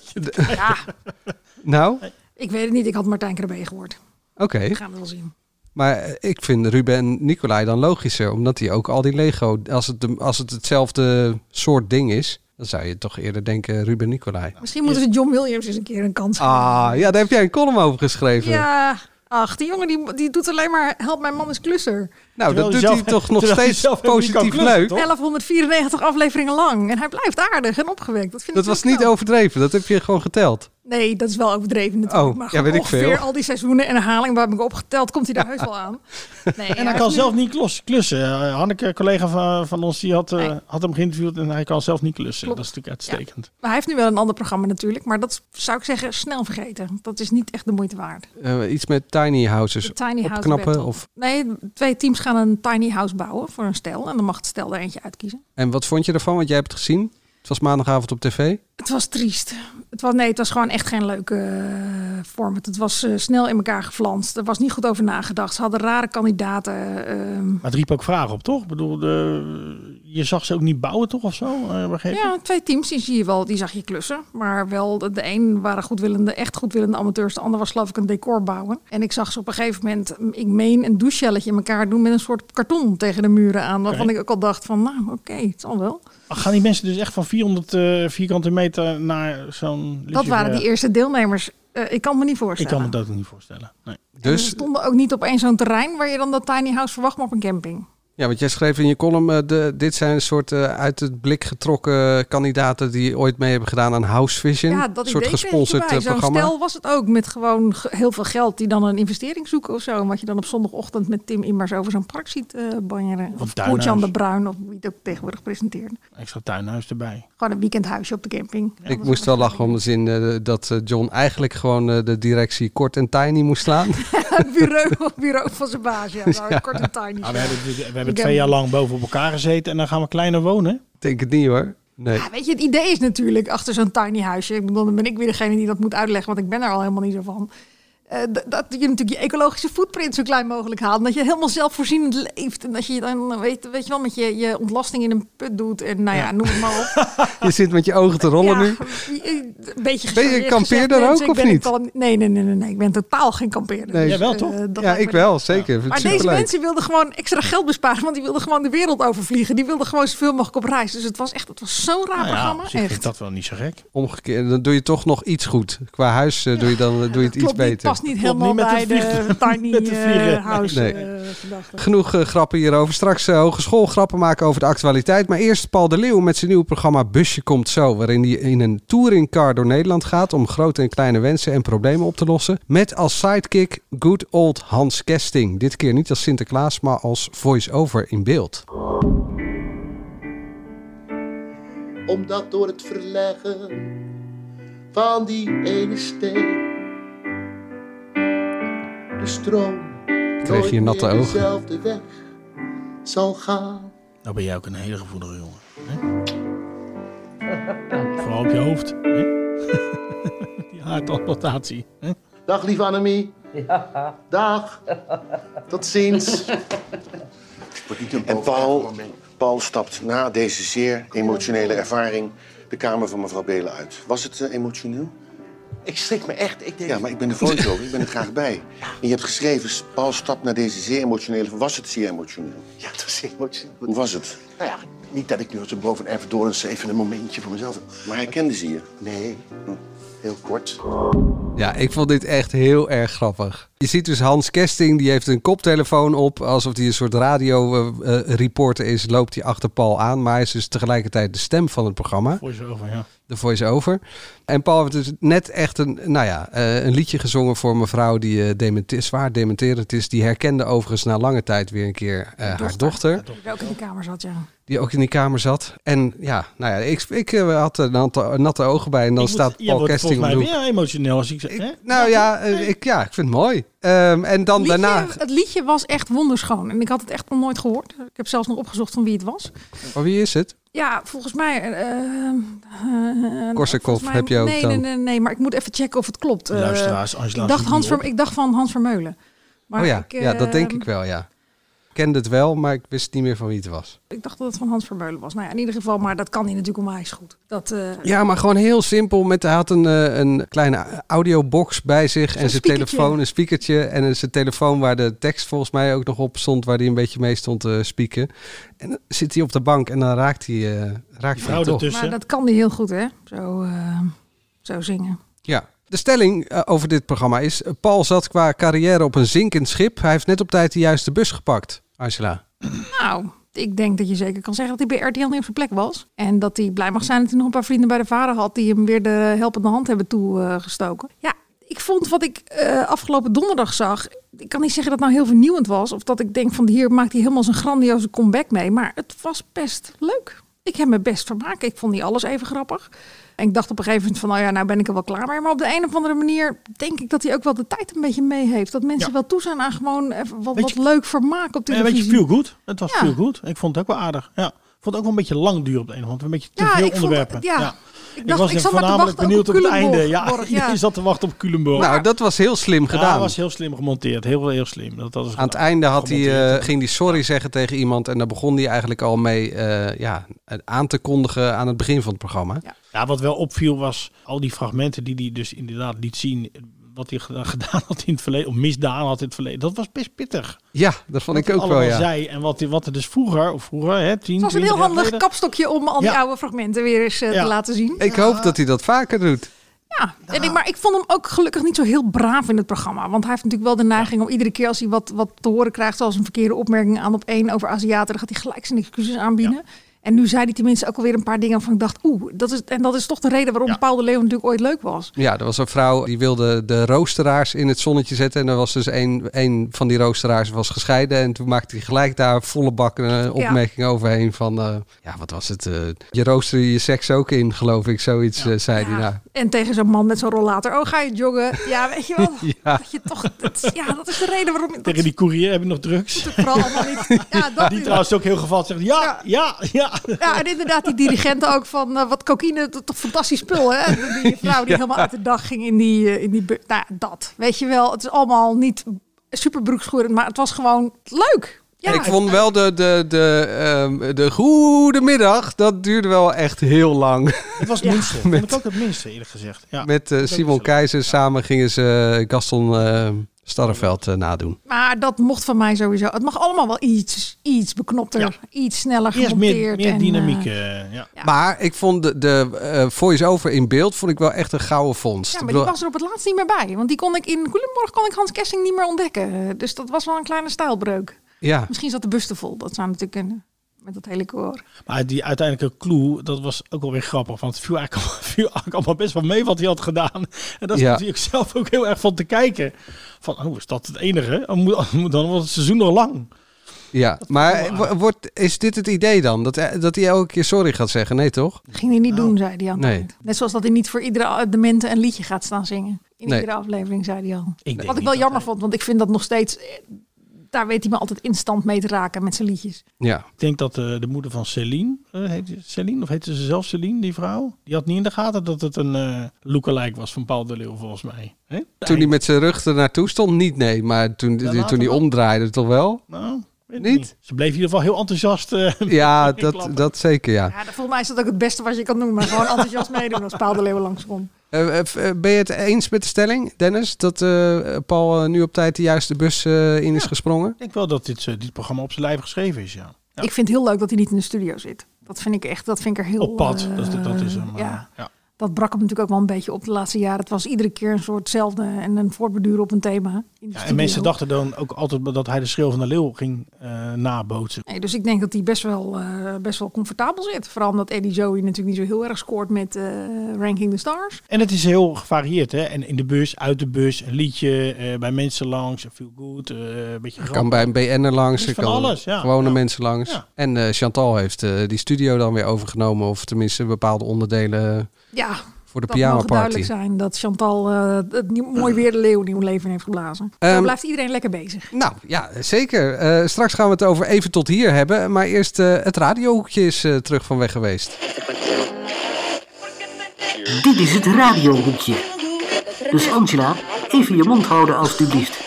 Speaker 13: Ja,
Speaker 8: nou, oké.
Speaker 13: ik weet het niet. Ik had Martijn Krabbe gehoord. We gaan het wel zien.
Speaker 8: Maar eh, ik vind Ruben en Nicolai dan logischer, omdat die ook al die Lego, als het, de- als het hetzelfde soort ding is, dan zou je toch eerder denken Ruben en Nicolai.
Speaker 13: Misschien moeten ze John Williams eens een keer een kans geven.
Speaker 8: Ah, ja, daar heb jij een column over geschreven.
Speaker 13: ja, ach, die jongen die, die doet alleen maar... Help, mijn man is klusser.
Speaker 8: nou, dat
Speaker 14: Terwijl
Speaker 8: doet
Speaker 14: je
Speaker 8: hij
Speaker 14: zelf-
Speaker 8: toch nog
Speaker 14: terwijl je
Speaker 8: steeds
Speaker 14: zelf helemaal niet kan
Speaker 8: positief
Speaker 14: klussen,
Speaker 8: leuk.
Speaker 14: toch?
Speaker 13: 1194 afleveringen lang. En hij blijft aardig en opgewekt. Dat, vind
Speaker 8: Dat
Speaker 13: ik
Speaker 8: was
Speaker 13: heel
Speaker 8: niet
Speaker 13: knap.
Speaker 8: overdreven, dat heb je gewoon geteld.
Speaker 13: Nee, dat is wel overdreven natuurlijk.
Speaker 8: Oh,
Speaker 13: maar
Speaker 8: ja,
Speaker 13: gewoon
Speaker 8: weet ik
Speaker 13: ongeveer
Speaker 8: veel.
Speaker 13: al die seizoenen en herhalingen waar heb ik opgeteld, komt hij daar heus wel aan. Nee,
Speaker 14: En hij kan zelf niet klus- klussen. Eh, Hanneke, een collega van, van ons, die had, eh,
Speaker 13: Nee.
Speaker 14: had hem geïnterviewd en hij kan zelf niet klussen.
Speaker 13: Klopt.
Speaker 14: Dat is natuurlijk uitstekend.
Speaker 13: Maar hij heeft nu wel een ander programma natuurlijk. Maar dat zou ik zeggen, snel vergeten. Dat is niet echt de moeite waard.
Speaker 8: Eh, iets met tiny houses
Speaker 13: De tiny house
Speaker 8: opknappen.
Speaker 13: battle.
Speaker 8: Of,
Speaker 13: Nee, twee teams gaan een tiny house bouwen voor een stel. En dan mag het stel er eentje uitkiezen.
Speaker 8: en wat vond je ervan? Want jij hebt het gezien. Het was maandagavond op tv.
Speaker 13: Het was triest. Het was, nee, het was gewoon echt geen leuke eh, format. Het was eh, snel in elkaar geflanst. Er was niet goed over nagedacht. Ze hadden rare kandidaten. ehm.
Speaker 14: Maar het riep ook vragen op, toch? Ik bedoel, de- je zag ze ook niet bouwen, toch? Of zo? Eh, begreep ik?
Speaker 13: Ja, twee teams die zie je wel, die zag je klussen. Maar wel, de, de een waren goedwillende, echt goedwillende amateurs. De ander was geloof ik een decor bouwen. En ik zag ze op een gegeven moment, m, ik meen, een douchegelletje in elkaar doen met een soort karton tegen de muren aan. Waarvan
Speaker 14: Oké.
Speaker 13: ik ook al dacht van, nou oké, het zal wel.
Speaker 14: Gaan die mensen dus echt van 400 eh, vierkante meter naar zo'n...
Speaker 13: Dat waren die eerste deelnemers. Eh, ik kan het me niet
Speaker 14: Ik
Speaker 13: voorstellen.
Speaker 14: kan me dat ook niet voorstellen. Nee.
Speaker 13: dus...
Speaker 8: Dus,
Speaker 13: stonden ook niet op één zo'n terrein waar je dan dat tiny house verwacht, maar op een camping.
Speaker 8: Ja, want jij schreef in je column, eh, de, dit zijn een soort eh, uit het blik getrokken kandidaten die ooit mee hebben gedaan aan House Vision.
Speaker 13: Ja, dat
Speaker 8: een soort
Speaker 13: idee kreeg ik
Speaker 8: gesponsord
Speaker 13: erbij.
Speaker 8: eh,
Speaker 13: Zo'n
Speaker 8: programma.
Speaker 13: stel was het ook met gewoon ge- heel veel geld die dan een investering zoeken of zo. En wat je dan op zondagochtend met Tim Immers over zo'n park ziet eh banjeren. Of
Speaker 14: tuinhuis.
Speaker 13: Koert-Jan de Bruin of wie het ook tegenwoordig presenteert.
Speaker 14: Extra tuinhuis erbij.
Speaker 13: Gewoon een weekendhuisje op de camping.
Speaker 8: Ik moest wel lachen om de zin eh, dat eh, John eigenlijk gewoon eh, de directie kort en tiny moest slaan.
Speaker 13: Het bureau, bureau van zijn baas, ja. Daar Kort en tiny.
Speaker 14: Ah, we hebben, we hebben
Speaker 13: Ik
Speaker 14: twee
Speaker 13: heb-
Speaker 14: jaar lang boven op elkaar gezeten en dan gaan we kleiner wonen.
Speaker 8: Ik Denk het niet hoor. Nee.
Speaker 13: Ja, weet je, het idee is natuurlijk achter zo'n tiny huisje. Ik bedoel, dan ben ik weer degene die dat moet uitleggen, want ik ben er al helemaal niet zo van. eh, d- dat je natuurlijk je ecologische footprint zo klein mogelijk haalt. En dat je helemaal zelfvoorzienend leeft. En dat je dan, weet, weet je wel, met je, je ontlasting in een put doet. En nou ja, noem het maar op.
Speaker 8: Je zit met je ogen te rollen
Speaker 13: Ja,
Speaker 8: nu.
Speaker 13: je- een beetje
Speaker 8: Ben je een
Speaker 13: gechargeerd gezegd,
Speaker 8: kampeerder
Speaker 13: mensen,
Speaker 8: ook,
Speaker 13: ik
Speaker 8: of
Speaker 13: ben een
Speaker 8: niet?
Speaker 13: kalm- Nee, nee, nee, nee, nee, ik ben totaal geen kampeerder.
Speaker 8: Nee.
Speaker 13: Dus,
Speaker 8: Jij
Speaker 14: wel,
Speaker 13: eh,
Speaker 14: toch? Nou
Speaker 13: dat
Speaker 8: ja,
Speaker 13: lijkt me
Speaker 8: ik wel, zeker. Vind ik
Speaker 13: Maar deze
Speaker 8: superleuk.
Speaker 13: mensen wilden gewoon extra geld besparen, want die wilden gewoon de wereld overvliegen. Die wilden gewoon zoveel mogelijk op reis. Dus het was echt, het was zo'n raar
Speaker 14: Nou ja, op
Speaker 13: programma.
Speaker 14: zich vind ik
Speaker 13: echt.
Speaker 14: dat wel niet zo gek.
Speaker 8: Omgekeerd, dan doe je toch nog iets goed. Qua huis eh, doe je, dan, eh, doe je het iets
Speaker 13: Klopt niet,
Speaker 8: beter.
Speaker 13: past niet
Speaker 14: Klopt
Speaker 13: helemaal
Speaker 14: niet met
Speaker 13: bij
Speaker 14: het
Speaker 13: de tiny
Speaker 14: met het vliegen.
Speaker 13: eh, house
Speaker 8: Nee.
Speaker 13: eh, gedachte.
Speaker 8: Genoeg eh, grappen hierover. Straks eh, hogeschool grappen maken over de actualiteit. Maar eerst Paul de Leeuw met zijn nieuwe programma Busje Komt Zo. Waarin hij in een touringcar door Nederland gaat om grote en kleine wensen en problemen op te lossen. Met als sidekick good old Hans Kesting. Dit keer niet als Sinterklaas, maar als voice-over in beeld.
Speaker 11: Omdat door het verleggen van die ene steen de stroom
Speaker 8: Kreeg je natte ogen.
Speaker 11: dezelfde weg zal gaan.
Speaker 14: Nou ben jij ook een hele gevoelige jongen. Hè? Vooral op je hoofd. Hè? Die haartransplantatie. hè?
Speaker 11: Dag lieve Annemie. Dag. Tot ziens.
Speaker 10: En Paul, Paul stapt na deze zeer emotionele ervaring de kamer van mevrouw Belen uit. Was het eh, emotioneel?
Speaker 11: Ik schrik me echt. Ik denk,
Speaker 10: Ja, maar ik ben de voice-over, ik ben er graag bij. En je hebt geschreven, Paul stapt naar deze zeer emotionele... Was het zeer emotioneel?
Speaker 11: ja, dat is emotioneel.
Speaker 10: Hoe was het?
Speaker 11: Nou ja, niet dat ik nu als een boven Erfdorens even een momentje voor mezelf...
Speaker 10: Maar herkende ze je? Hm.
Speaker 11: Nee, heel kort.
Speaker 8: Ja, ik vond dit echt heel erg grappig. Je ziet dus Hans Kesting, die heeft een koptelefoon op. Alsof hij een soort radioreporter is, loopt hij achter Paul aan. Maar hij is dus tegelijkertijd de stem van het programma.
Speaker 14: Voor je over, ja.
Speaker 8: de voice-over. En Paul heeft dus net echt een, nou ja, eh, een liedje gezongen voor een mevrouw die eh, dementi- zwaar dementerend is. Die herkende overigens na lange tijd weer een keer eh, haar dochter,
Speaker 13: Die ook in de kamer zat, ja.
Speaker 8: die ook in die kamer zat. En ja, nou ja, ik, ik eh, had er natte, natte ogen bij en dan
Speaker 14: Ik
Speaker 8: staat
Speaker 14: moet- jij
Speaker 8: Paul
Speaker 14: wordt
Speaker 8: Kesting op
Speaker 14: volgens
Speaker 8: de
Speaker 14: mij
Speaker 8: hoek.
Speaker 14: weer emotioneel als ik zeg.
Speaker 8: Ik-
Speaker 14: hè?
Speaker 8: nou ja, eh, ik, ja, ik vind het mooi. Ehm, en dan
Speaker 13: Liedje-
Speaker 8: daarna,
Speaker 13: Het liedje was echt wonderschoon. En ik had het echt nog nooit gehoord. Ik heb zelfs nog opgezocht van wie het was.
Speaker 8: oh, wie is het?
Speaker 13: Ja, volgens mij. eh, eh, eh,
Speaker 8: Korsakoff
Speaker 13: volgens mij-
Speaker 8: heb je ook
Speaker 13: nee,
Speaker 8: dan.
Speaker 13: Nee, nee, nee, maar ik moet even checken of het klopt. Eh,
Speaker 14: Luisteraars, Angela
Speaker 13: ik, dacht
Speaker 14: zoekt
Speaker 13: Hans
Speaker 14: niet op.
Speaker 13: Verm- ik dacht van Hans Vermeulen. Maar
Speaker 8: oh ja,
Speaker 13: ik,
Speaker 8: ja, dat denk
Speaker 13: eh,
Speaker 8: ik wel, ja. Ik kende het wel, maar ik wist niet meer van wie het was.
Speaker 13: Ik dacht dat het van Hans Vermeulen was. Nou ja, in ieder geval, maar dat kan hij natuurlijk onwijs goed. Dat, eh,
Speaker 8: Ja, maar gewoon heel simpel. Met, hij had een, eh, een kleine audiobox bij zich en zijn
Speaker 13: speakertje.
Speaker 8: telefoon, een speakertje en een- zijn telefoon waar de tekst volgens mij ook nog op stond, waar hij een beetje mee stond te spieken. En dan zit hij op de bank en dan raakt hij, eh, raakt
Speaker 14: Die
Speaker 8: hij
Speaker 14: vrouw
Speaker 8: toch.
Speaker 14: ertussen.
Speaker 13: Maar dat kan hij heel goed, hè? Zo, eh, zo zingen.
Speaker 8: Ja. De stelling eh, over dit programma is, eh, Paul zat qua carrière op een zinkend schip. Hij heeft net op tijd de juiste bus gepakt, Angela.
Speaker 13: Nou, ik denk dat je zeker kan zeggen dat hij bij RTL niet op zijn plek was. En dat hij blij mag zijn dat hij nog een paar vrienden bij de vader had... die hem weer de helpende hand hebben toegestoken. Ja, ik vond wat ik eh, afgelopen donderdag zag... Ik kan niet zeggen dat het nou heel vernieuwend was... of dat ik denk van hier maakt hij helemaal zijn grandioze comeback mee. Maar het was best leuk. Ik heb me best vermaakt. Ik vond niet alles even grappig. En ik dacht op een gegeven moment van, nou ja, nou ben ik er wel klaar mee. Maar op de een of andere manier denk ik dat hij ook wel de tijd een beetje mee heeft. Dat mensen
Speaker 14: Ja.
Speaker 13: wel toe zijn aan gewoon even wat,
Speaker 14: Weet
Speaker 13: wat
Speaker 14: je-
Speaker 13: leuk vermaak op
Speaker 14: Ja,
Speaker 13: televisie.
Speaker 14: weet je, feel good. Het was
Speaker 13: dus Ja.
Speaker 14: veel goed. Ik vond het ook wel aardig. Ja. Ik vond het ook wel een beetje lang duur op de een of andere. Een beetje te veel
Speaker 13: ik vond-
Speaker 14: onderwerpen.
Speaker 13: ja. Ik, dacht,
Speaker 14: was
Speaker 13: ik zat maar te
Speaker 14: voornamelijk
Speaker 13: wachten
Speaker 14: benieuwd op het einde. Ja,
Speaker 13: Culemborg,
Speaker 14: iedereen zat te wachten op Culemborg.
Speaker 8: Nou, dat was heel slim
Speaker 14: Ja,
Speaker 8: gedaan.
Speaker 14: dat was heel slim gemonteerd. Heel, heel slim. Dat, dat is
Speaker 8: Aan het
Speaker 14: gedaan.
Speaker 8: einde had hij,
Speaker 14: Gemonteerd.
Speaker 8: eh, ging hij sorry zeggen tegen iemand. En daar begon hij eigenlijk al mee eh, ja, aan te kondigen aan het begin van het programma.
Speaker 14: Ja, wat wel opviel was al die fragmenten die hij dus inderdaad liet zien. Wat hij geda- gedaan had in het verleden, of misdaan had in het verleden. Dat was best pittig.
Speaker 8: Ja, dat vond
Speaker 14: Wat
Speaker 8: ik
Speaker 14: hij
Speaker 8: ook wel,
Speaker 14: allemaal
Speaker 8: ja.
Speaker 14: zei en wat, hij- wat er dus vroeger, of vroeger, hè, 10,
Speaker 13: Het was een
Speaker 14: 20
Speaker 13: heel
Speaker 14: jaar
Speaker 13: handig
Speaker 14: geleden-
Speaker 13: kapstokje om al die
Speaker 14: Ja.
Speaker 13: oude fragmenten weer eens eh,
Speaker 14: Ja.
Speaker 13: te laten zien.
Speaker 8: Ik hoop dat hij dat vaker doet.
Speaker 13: Ja, en ik, maar ik vond hem ook gelukkig niet zo heel braaf in het programma. Want hij heeft natuurlijk wel de neiging om iedere keer als hij wat, wat te horen krijgt, zoals een verkeerde opmerking aan op één over Aziaten, dan gaat hij gelijk zijn excuses aanbieden. En nu zei hij tenminste ook alweer een paar dingen van ik dacht, oeh, dat is, en dat is toch de reden waarom
Speaker 14: Ja.
Speaker 13: Paul de Leeuw natuurlijk ooit leuk was.
Speaker 8: Ja, er was een vrouw die wilde de roosteraars in het zonnetje zetten. En er was dus een, een van die roosteraars was gescheiden. En toen maakte hij gelijk daar volle bak een eh, opmerking overheen van... eh, ja, wat was het? eh, je rooster je seks ook in, geloof ik. Zoiets eh, zei hij
Speaker 13: Ja.
Speaker 8: nou.
Speaker 13: En tegen zo'n man met zo'n rollator, oh ga je joggen? Ja, weet je wel.
Speaker 8: Ja.
Speaker 13: Dat je toch, dat, ja, dat is de reden waarom je dat
Speaker 14: Tegen die courier heb je nog drugs.
Speaker 13: is vooral allemaal niet. Ja, dat
Speaker 14: Die
Speaker 13: is-
Speaker 14: trouwens ook heel gevat zegt, ja, ja, ja.
Speaker 13: ja, en inderdaad, die dirigenten ook van eh, wat cocaïne, dat is toch fantastisch spul, hè? Die vrouw die helemaal uit de dag ging in die, eh, in die bu- Nou, ja, dat. Weet je wel, het is allemaal niet super broekschoerend, maar het was gewoon leuk. Ja,
Speaker 8: ik vond wel de, de, de, ehm de goedemiddag, dat duurde wel echt heel lang.
Speaker 14: Het was het
Speaker 13: Ja.
Speaker 14: minste. Vond ik ook het minste, eerlijk gezegd. Ja.
Speaker 8: Met eh,
Speaker 14: Dat is
Speaker 8: Simon
Speaker 14: wel-
Speaker 8: Keizer samen gingen ze eh, Gaston eh Starreveld eh, nadoen.
Speaker 13: Maar dat mocht van mij sowieso. Het mag allemaal wel iets, iets beknopter,
Speaker 14: Ja.
Speaker 13: iets sneller
Speaker 14: Eerst
Speaker 13: gemonteerd.
Speaker 14: meer,
Speaker 13: en,
Speaker 14: meer
Speaker 13: eh,
Speaker 14: dynamiek. eh, ja.
Speaker 13: Ja.
Speaker 8: Maar ik vond de, de eh, voice-over in beeld vond ik wel echt een gouden vondst.
Speaker 13: ja,
Speaker 8: Ik
Speaker 13: maar die
Speaker 8: bedoel-
Speaker 13: was er op het laatst niet meer bij. Want die kon ik in Culemborg kon ik Hans Kessing niet meer ontdekken. Eh, Dus dat was wel een kleine stijlbreuk.
Speaker 8: ja.
Speaker 13: Misschien zat de bus te vol. Dat zou natuurlijk kunnen. Met dat hele koor.
Speaker 14: Maar die uiteindelijke clue, dat was ook wel weer grappig. Want het viel eigenlijk, allemaal- viel eigenlijk allemaal best wel mee wat hij had gedaan. En daar
Speaker 8: Ja.
Speaker 14: zat hij ook zelf ook heel erg van te kijken. Van, oh, is dat het enige? Dan moet- oh, moet- Dan wordt het seizoen nog lang.
Speaker 8: Ja, maar wo- wordt, is dit het idee dan? Dat, eh, dat hij elke keer sorry gaat zeggen? Nee, toch?
Speaker 13: Dat ging hij niet doen, zei hij altijd.
Speaker 8: Nou, Nee.
Speaker 13: Net zoals dat hij niet voor iedere a- demente een liedje gaat staan zingen. In
Speaker 8: Nee.
Speaker 13: iedere aflevering, zei hij al.
Speaker 14: Ik denk
Speaker 13: Wat ik
Speaker 14: niet
Speaker 13: wel
Speaker 14: dat
Speaker 13: jammer
Speaker 14: hij-
Speaker 13: vond, want ik vind dat nog steeds... eh, Daar weet hij me altijd instant mee te raken met zijn liedjes.
Speaker 8: Ja.
Speaker 14: Ik denk dat eh, de moeder van Celine, eh, heet ze Celine, of heette ze zelf Celine, die vrouw? Die had niet in de gaten dat het een eh lookalike was van Paul de Leeuw, volgens mij. Hè?
Speaker 8: Toen hij met zijn rug er naartoe stond, niet nee. Maar toen, toen,
Speaker 14: later
Speaker 8: hij
Speaker 14: wel.
Speaker 8: omdraaide, toch wel?
Speaker 14: Nou, weet ik
Speaker 8: Niet?
Speaker 14: niet. Ze bleef in ieder geval heel enthousiast. eh,
Speaker 8: Ja,
Speaker 14: Inklappen.
Speaker 8: dat, dat zeker, ja.
Speaker 13: Ja, dat- volgens mij is dat ook het beste wat je kan doen. Maar gewoon enthousiast meedoen als Paal de Leeuw langskomt.
Speaker 8: Eh, eh, f- eh, ben je het eens met de stelling, Dennis? Dat eh, Paul eh, nu op tijd de juiste bus eh, in is gesprongen?
Speaker 14: Ik denk wel dat dit, eh, dit programma op zijn lijf geschreven is, ja. Ja.
Speaker 13: Ik vind het heel leuk dat hij niet in de studio zit. Dat vind ik echt, dat vind ik er heel...
Speaker 14: Op pad,
Speaker 13: eh,
Speaker 14: dat, dat is hem. eh,
Speaker 13: ja.
Speaker 14: ja.
Speaker 13: Dat brak hem natuurlijk ook wel een beetje op de laatste jaren. Het was iedere keer een soortzelfde en een voortbeduren op een thema. in de
Speaker 14: Ja, en
Speaker 13: studio.
Speaker 14: mensen dachten dan ook altijd dat hij de schreeuw van de leeuw ging eh, nabootsen.
Speaker 13: Nee, dus ik denk dat hij best wel, eh, best wel comfortabel zit. Vooral omdat Eddie Zoe natuurlijk niet zo heel erg scoort met eh, Ranking the Stars.
Speaker 14: En het is heel gevarieerd, hè? En in de bus, uit de bus, een liedje, eh, bij mensen langs, feel good, eh, een beetje
Speaker 8: Kan
Speaker 14: grappig.
Speaker 8: bij een BN'er langs,
Speaker 14: Is
Speaker 8: er
Speaker 14: van
Speaker 8: kan
Speaker 14: alles, ja.
Speaker 8: gewone
Speaker 14: Ja.
Speaker 8: mensen langs.
Speaker 14: Ja.
Speaker 8: En eh, Chantal heeft eh, die studio dan weer overgenomen. Of tenminste bepaalde onderdelen
Speaker 13: Ja,
Speaker 8: voor de
Speaker 13: dat mag duidelijk
Speaker 8: pyjama-party.
Speaker 13: zijn dat Chantal eh, het nieuw- mooi weer de leeuw nieuw leven heeft geblazen.
Speaker 8: Ehm,
Speaker 13: Zo blijft iedereen lekker bezig.
Speaker 8: Nou ja, zeker. Eh, straks gaan we het over even tot hier hebben. Maar eerst eh, het radiohoekje is eh, terug van weg geweest.
Speaker 3: Dit is het radiohoekje. Dus Angela, even je mond houden alstublieft.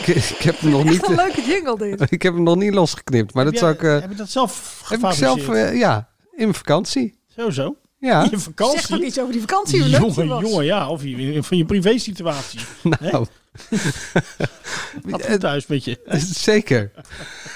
Speaker 8: Ik, ik heb hem nog niet,
Speaker 13: Echt een leuke jingle dit.
Speaker 8: ik heb hem nog niet losgeknipt. Maar dat
Speaker 14: Heb
Speaker 8: zou
Speaker 14: jij-
Speaker 8: ik, eh,
Speaker 14: heb je dat zelf
Speaker 8: heb ik
Speaker 14: gefabriceerd?
Speaker 8: zelf, eh, ja, in vakantie.
Speaker 14: Zo, zo.
Speaker 8: Ja,
Speaker 14: Je
Speaker 13: Zeg ook
Speaker 14: vakantie?
Speaker 13: iets over die vakantie. Hoe leuk
Speaker 14: Jongen,
Speaker 13: die was.
Speaker 14: jongen, ja. Of je, van je privé situatie.
Speaker 8: nou.
Speaker 14: Gaat
Speaker 8: Eh,
Speaker 14: goed thuis met je.
Speaker 8: Zeker.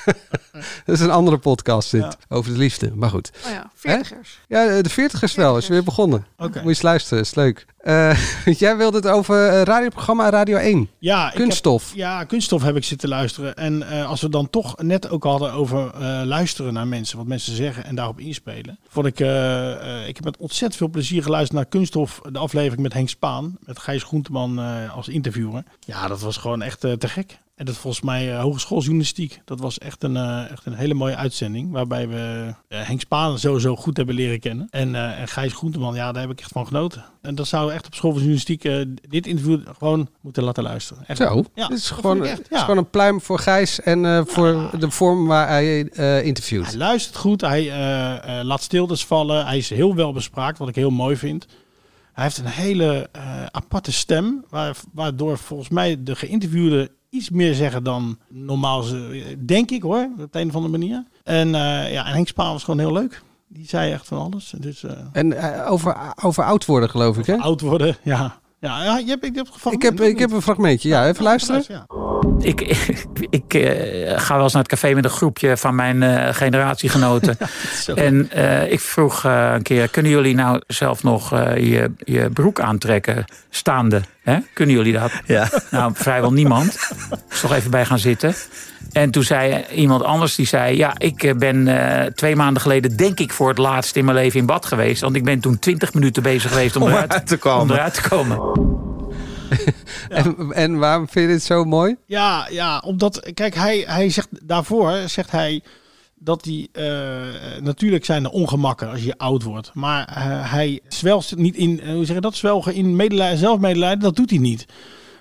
Speaker 8: dat is een andere podcast dit,
Speaker 14: Ja.
Speaker 8: over de liefde. Maar goed.
Speaker 13: Oh ja, veertigers.
Speaker 8: Ja, eh, de 40 is wel, is weer begonnen.
Speaker 14: Oké.
Speaker 8: Moet je eens luisteren, is leuk. Eh, jij wilde het over eh, radioprogramma Radio 1.
Speaker 14: Ja, ik heb-
Speaker 8: Kunststof.
Speaker 14: ja, kunststof heb ik zitten luisteren. En eh, als we dan toch net ook hadden over eh, luisteren naar mensen, wat mensen zeggen en daarop inspelen. Vond ik, eh, eh, ik heb met ontzettend veel plezier geluisterd naar kunststof, de aflevering met Henk Spaan, met Gijs Groenteman eh, als interviewer. Ja, dat was gewoon echt eh, te gek. En dat volgens mij eh, hogeschooljournalistiek. Dat was echt een, eh, echt een hele mooie uitzending. Waarbij we eh, Henk Spaan sowieso goed hebben leren kennen. En, eh, en Gijs Groenteman, ja, daar heb ik echt van genoten. En dat zouden we echt op school van journalistiek eh, dit interview gewoon moeten laten luisteren. Echt.
Speaker 8: Zo,
Speaker 14: Ja,
Speaker 8: dit is
Speaker 14: dat
Speaker 8: gewoon,
Speaker 14: vond ik echt,
Speaker 8: het is
Speaker 14: ja.
Speaker 8: gewoon een pluim voor Gijs en eh, voor de vorm waar hij eh, interviewt.
Speaker 14: Hij luistert goed, hij eh, eh, laat stiltes vallen. Hij is heel wel bespraakt, wat ik heel mooi vind. Hij heeft een hele eh, aparte stem, waar- waardoor volgens mij de geïnterviewden iets meer zeggen dan normaal ze, eh, denk ik hoor, op de een of andere manier. En, eh, ja, en Henk Spaan was gewoon heel leuk. Die zei echt van alles. Dus eh,
Speaker 8: En eh, over, over oud worden, geloof ik, hè?
Speaker 14: oud worden, ja. Ja, ja, je hebt, ik heb gevangen.
Speaker 8: Ik heb, ik heb een fragmentje. Ja, even luisteren.
Speaker 14: Ja.
Speaker 4: Ik, ik eh, ga wel eens naar het café met een groepje van mijn eh, generatiegenoten.
Speaker 14: Zo.
Speaker 4: en eh, ik vroeg eh, een keer, kunnen jullie nou zelf nog eh, je, je broek aantrekken staande? Hè? Kunnen jullie dat?
Speaker 12: Ja.
Speaker 4: Nou, vrijwel niemand. Dus toch even bij gaan zitten. En toen zei iemand anders, die zei... ja, ik eh, ben eh, twee maanden geleden denk ik voor het laatst in mijn leven in bad geweest. Want ik ben toen twintig minuten bezig geweest om,
Speaker 12: Om
Speaker 4: eruit,
Speaker 12: eruit te komen.
Speaker 4: om eruit te komen.
Speaker 8: En, en waarom vind je dit zo mooi?
Speaker 14: Ja, ja, omdat, kijk, hij, hij zegt daarvoor, zegt hij dat hij, eh, natuurlijk zijn er ongemakken als je oud wordt. Maar eh, hij zwelst niet in, eh, hoe zeg je dat, zwelgen in medelijden, zelfmedelijden, dat doet hij niet.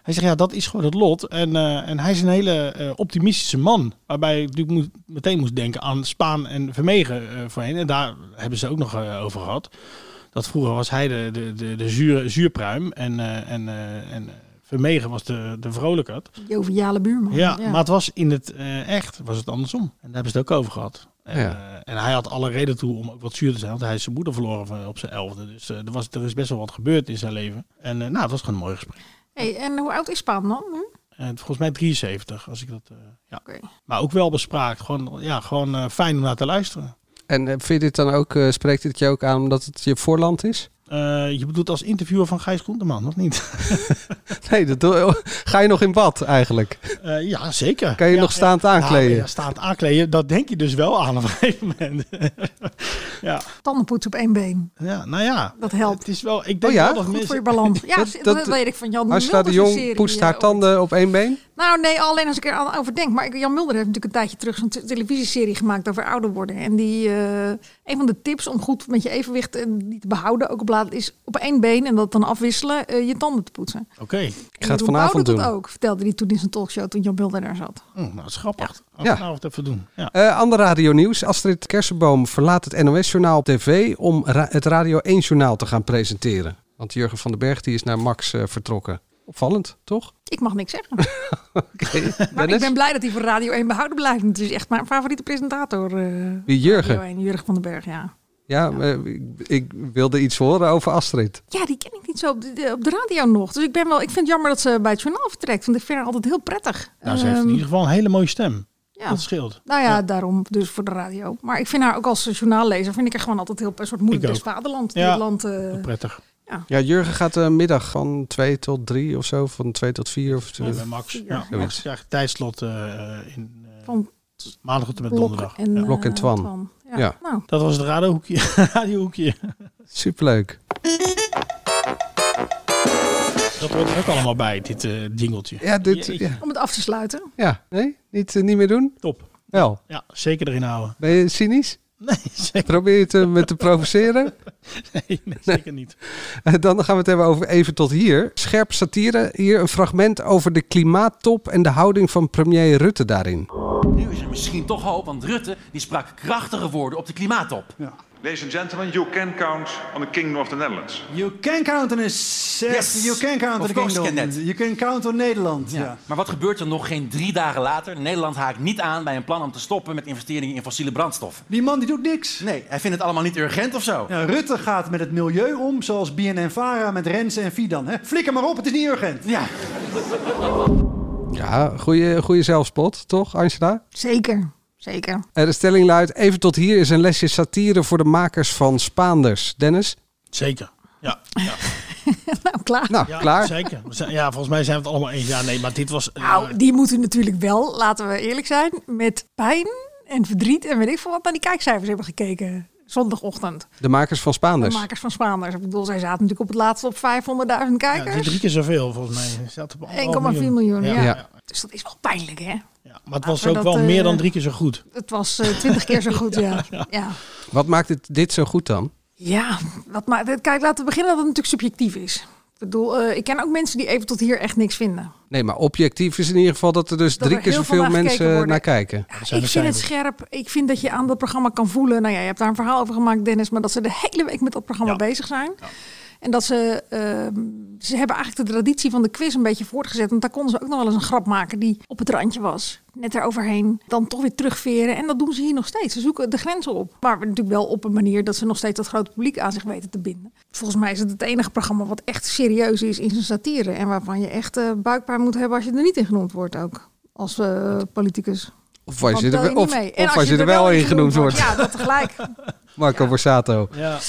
Speaker 14: Hij zegt, ja, dat is gewoon het lot. En, eh, en hij is een hele eh, optimistische man. Waarbij ik natuurlijk moet, meteen moest denken aan Spaan en Vermegen eh, voorheen. En daar hebben ze ook nog eh, over gehad. Dat vroeger was hij de, de, de, de zure, zuurpruim. En, eh, en, eh, en Vermegen was de, de vrolijkheid.
Speaker 13: Joviale buurman.
Speaker 14: Ja, maar het was in het eh, echt was het andersom. En daar hebben ze het ook over gehad. En, eh, en hij had alle reden toe om ook wat zuur te zijn, want hij is zijn moeder verloren van- op zijn elfde. Dus eh, er, was, er is best wel wat gebeurd in zijn leven. En eh, nou, het was gewoon een mooi gesprek.
Speaker 13: Hey, en hoe oud is Paan dan nu?
Speaker 14: En volgens mij 73, als ik dat. eh, ja.
Speaker 13: Oké.
Speaker 14: Maar ook wel bespraakt. Gewoon, ja, gewoon eh, fijn om naar te luisteren.
Speaker 8: En eh, vind je dit dan ook, eh, spreekt dit je ook aan omdat het je voorland is?
Speaker 14: Eh, je bedoelt als interviewer van Gijs Groenteman, of niet?
Speaker 8: Nee, dat doe- ga je nog in bad eigenlijk?
Speaker 14: Eh, ja, zeker.
Speaker 8: Kan je
Speaker 14: Ja,
Speaker 8: nog
Speaker 14: ja. Nou,
Speaker 8: staand aankleden?
Speaker 14: Ja, ja, staand aankleden, dat denk je dus wel aan op een gegeven moment. ja.
Speaker 13: Tandenpoetsen op één been.
Speaker 14: ja, nou ja.
Speaker 13: Dat helpt.
Speaker 14: Het is wel, ik denk
Speaker 8: Oh ja?
Speaker 14: wel dat
Speaker 13: Goed
Speaker 14: mensen-
Speaker 13: voor je balans. Ja, dat,
Speaker 8: Dat- dat-
Speaker 13: weet ik van Jan Mulder.
Speaker 8: Als de
Speaker 13: zijn
Speaker 8: Jong
Speaker 13: serie,
Speaker 8: poest
Speaker 13: eh,
Speaker 8: haar tanden op één been?
Speaker 13: Nou nee, alleen als ik er aan over denk. Maar ik- Jan Mulder heeft natuurlijk een tijdje terug zo'n te- televisieserie gemaakt over ouder worden. En die, eh, een van de tips om goed met je evenwicht eh, die te behouden, ook op laat, is op één been en dat dan afwisselen, eh, je tanden te poetsen.
Speaker 14: Oké.
Speaker 8: Ik ga het
Speaker 13: Jeroen
Speaker 8: vanavond
Speaker 13: Pauw doet
Speaker 8: doen.
Speaker 13: dat ook, vertelde hij toen in zijn talkshow toen Jan Mulder daar zat.
Speaker 14: Hm, nou, dat is grappig. Als
Speaker 8: Ja.
Speaker 14: we nou wat even doen. Ja.
Speaker 8: Eh ander radionieuws. Astrid Kersenboom verlaat het NOS-journaal op tv om ra- het Radio 1-journaal te gaan presenteren. Want Jurgen van den Berg die is naar Max eh, vertrokken. Opvallend, toch?
Speaker 13: Ik mag niks zeggen.
Speaker 8: Oké.
Speaker 13: Maar
Speaker 8: Dennis?
Speaker 13: ik ben blij dat hij voor Radio 1 behouden blijft. want Het is echt mijn favoriete presentator. eh,
Speaker 8: Wie, Jurgen?
Speaker 13: Radio 1, Jurgen van den Berg, ja.
Speaker 8: Ja, eh, ik, ik wilde iets horen over Astrid.
Speaker 13: Ja, die ken ik niet zo op de, op de radio nog. Dus ik ben wel, ik vind het jammer dat ze bij het journaal vertrekt. Want ik vind haar altijd heel prettig.
Speaker 14: Nou, ze heeft
Speaker 13: Ehm,
Speaker 14: in ieder geval een hele mooie stem.
Speaker 13: ja.
Speaker 14: Dat scheelt.
Speaker 13: Nou ja, daarom dus voor de radio. Maar ik vind haar ook als journaallezer vind ik haar gewoon altijd heel een soort moeder
Speaker 8: Ik ook.
Speaker 13: des vaderland.
Speaker 14: Ja.
Speaker 13: Ja. Land, eh,
Speaker 14: Prettig.
Speaker 8: Ja, Jurgen gaat eh, middag van 2 tot 3 of zo, van 2 tot 4 of zo.
Speaker 14: Ja, bij Max. Ja, Max
Speaker 8: Zoiets.
Speaker 14: krijgt tijdslot eh, in eh,
Speaker 13: Van
Speaker 14: maandag tot en met
Speaker 13: Blok
Speaker 14: donderdag.
Speaker 13: en,
Speaker 14: Ja.
Speaker 13: eh,
Speaker 8: Blok en Twan.
Speaker 13: Twan. Ja.
Speaker 8: Ja.
Speaker 13: Nou.
Speaker 14: Dat was het radiohoekje. radiohoekje.
Speaker 8: Superleuk.
Speaker 14: Dat hoort er ook allemaal bij, dit eh jingeltje.
Speaker 8: Ja, dit,
Speaker 14: Jeetje.
Speaker 8: ja.
Speaker 13: Om het af te sluiten.
Speaker 8: ja, nee? Niet, eh, niet meer doen?
Speaker 14: Top.
Speaker 8: Wel,
Speaker 14: Ja, zeker erin houden.
Speaker 8: ben je cynisch?
Speaker 14: Nee, zeker,
Speaker 8: Probeer je het eh, me te provoceren?
Speaker 14: nee, nee, zeker niet.
Speaker 8: Eh, Dan gaan we het hebben over even tot hier. Scherp satire. Hier een fragment over de klimaattop en de houding van premier Rutte daarin.
Speaker 12: Nu is er misschien toch hoop, want Rutte die sprak krachtige woorden op de klimaattop.
Speaker 15: Ladies and gentlemen, you can count on the Kingdom of the Netherlands.
Speaker 16: You can count on us. eh,
Speaker 12: Yes.
Speaker 16: You can count on
Speaker 12: Of course you
Speaker 16: Nederland.
Speaker 12: can that.
Speaker 16: You can count on Nederland. Ja.
Speaker 12: Ja. Maar wat gebeurt er nog geen drie dagen later? Nederland haakt niet aan bij een plan om te stoppen met investeringen in fossiele brandstoffen.
Speaker 16: Die man die doet niks.
Speaker 12: Nee, hij vindt het allemaal niet urgent of zo.
Speaker 16: Ja, Rutte gaat met het milieu om, zoals BNNVARA met Rensen en Fidan. Hè? Flikker maar op, het is niet urgent.
Speaker 12: Ja.
Speaker 8: Ja, goede, goede zelfspot, toch Angela?
Speaker 13: Zeker, zeker.
Speaker 8: Eh, De stelling luidt, even tot hier is een lesje satire voor de makers van Spaanders. Dennis?
Speaker 14: Zeker. Ja, ja.
Speaker 13: nou, klaar.
Speaker 8: Nou,
Speaker 14: ja,
Speaker 8: klaar.
Speaker 14: Zeker. We zijn- Ja, volgens mij zijn we het allemaal eens. Ja, nee, maar dit was...
Speaker 13: Nou, die moeten natuurlijk wel, laten we eerlijk zijn, met pijn en verdriet en weet ik veel wat naar die kijkcijfers hebben gekeken. Zondagochtend.
Speaker 8: De makers van
Speaker 13: De
Speaker 14: Dus.
Speaker 8: Spaanders.
Speaker 13: makers van Spaanders. Ik bedoel, zij zaten natuurlijk op het laatste op 500.000
Speaker 14: Ja, het is
Speaker 13: kijkers.
Speaker 14: drie keer zoveel, volgens mij. Het staat op
Speaker 13: 1,4 miljoen, ja.
Speaker 14: Ja.
Speaker 13: Dus dat is wel pijnlijk, hè?
Speaker 14: Maar het
Speaker 13: Laten
Speaker 14: was
Speaker 13: we
Speaker 14: ook
Speaker 13: dat,
Speaker 14: wel
Speaker 13: eh,
Speaker 14: meer dan drie keer zo goed.
Speaker 13: Het was eh, 20 keer zo goed, ja. ja.
Speaker 8: Wat maakt dit, dit zo goed dan?
Speaker 13: Ja, wat maar, kijk, laten we beginnen dat het natuurlijk subjectief is. Ik bedoel, eh, ik ken ook mensen die even tot hier echt niks vinden.
Speaker 8: Nee, maar objectief is in ieder geval dat er dus
Speaker 13: Dat
Speaker 8: drie
Speaker 13: er
Speaker 8: keer
Speaker 13: heel
Speaker 8: zoveel
Speaker 13: veel naar gekeken
Speaker 8: mensen
Speaker 13: worden.
Speaker 8: naar kijken.
Speaker 13: ik vind het scherp. Ik vind dat je aan dat programma kan voelen. Nou ja, je hebt daar een verhaal over gemaakt, Dennis. Maar dat ze de hele week met dat programma bezig zijn. En dat ze... ehm, ze hebben eigenlijk de traditie van de quiz een beetje voortgezet. Want daar konden ze ook nog wel eens een grap maken die op het randje was. Net eroverheen. Dan toch weer terugveren. En dat doen ze hier nog steeds. Ze zoeken de grenzen op. Maar natuurlijk wel op een manier dat ze nog steeds dat grote publiek aan zich weten te binden. Volgens mij is het het enige programma wat echt serieus is in zijn satire. En waarvan je echt eh, buikpijn moet hebben als je er niet in genoemd wordt ook. Als eh, politicus.
Speaker 8: Of als
Speaker 13: Want
Speaker 8: je
Speaker 13: tel
Speaker 8: er,
Speaker 13: niet
Speaker 8: of,
Speaker 13: mee. En
Speaker 8: of als je er wel in genoemd wordt.
Speaker 13: Ja, dat tegelijk.
Speaker 8: Marco Borsato.
Speaker 14: Ja, ja.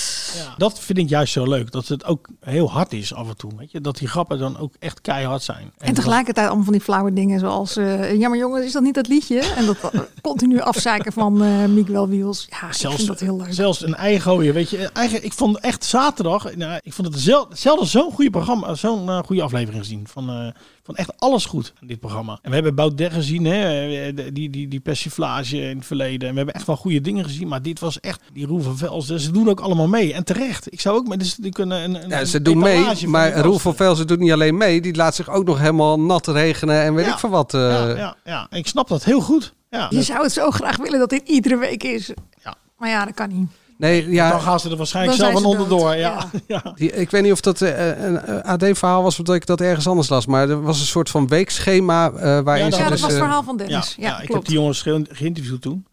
Speaker 14: Dat vind ik juist zo leuk. Dat het ook heel hard is af en toe. Weet je? Dat die grappen dan ook echt keihard zijn.
Speaker 13: En tegelijkertijd allemaal van die flauwe dingen zoals... eh ja, maar jongens, is dat niet dat liedje? En dat eh, continu afzeiken van eh Miguel Wiels. Ja, ik
Speaker 14: Zelfs,
Speaker 13: vind dat heel leuk.
Speaker 14: zelfs een eigen gooien, weet je. Eigen, ik vond echt zaterdag, nou, ik vond het zel- zelden zo'n goede programma, zo'n eh, goede aflevering gezien. Van, eh, van echt alles goed in dit programma. En we hebben Baudet gezien, hè, eh, de- die, die, die persiflage in het verleden. En we hebben echt wel goede dingen gezien, maar dit was echt, die Roel van Vels, ze doen ook allemaal mee. En terecht. Ik zou ook, maar dus, die kunnen een, een-
Speaker 8: Ja, ze
Speaker 14: een
Speaker 8: doen
Speaker 14: etalage
Speaker 8: mee,
Speaker 14: van die
Speaker 8: maar
Speaker 14: gasten.
Speaker 8: Roel van Velzen doet niet alleen mee. Die laat zich ook nog helemaal nat regenen en weet
Speaker 14: Ja,
Speaker 8: ik van wat. eh.
Speaker 14: Ja, ja, ja, ik snap dat heel goed. Ja,
Speaker 13: Je zou het zo graag willen dat dit iedere week is.
Speaker 14: Ja.
Speaker 13: Maar ja, dat kan niet.
Speaker 8: Nee, ja,
Speaker 14: Dan gaan ze er waarschijnlijk
Speaker 13: Dan
Speaker 14: zelf
Speaker 13: zijn
Speaker 14: aan
Speaker 13: ze
Speaker 14: onderdoor.
Speaker 13: dood,
Speaker 14: Ja. Ja.
Speaker 8: Die- ik weet niet of dat eh, een AD-verhaal was, of dat ik dat ergens anders las. Maar er was een soort van weekschema eh, waarin
Speaker 13: Ja,
Speaker 8: ze
Speaker 13: dat was
Speaker 8: dus...
Speaker 13: het
Speaker 8: eh,
Speaker 13: verhaal van Dennis. Ja,
Speaker 14: ik heb
Speaker 13: klopt.
Speaker 14: die jongens ge- geïnterviewd toen.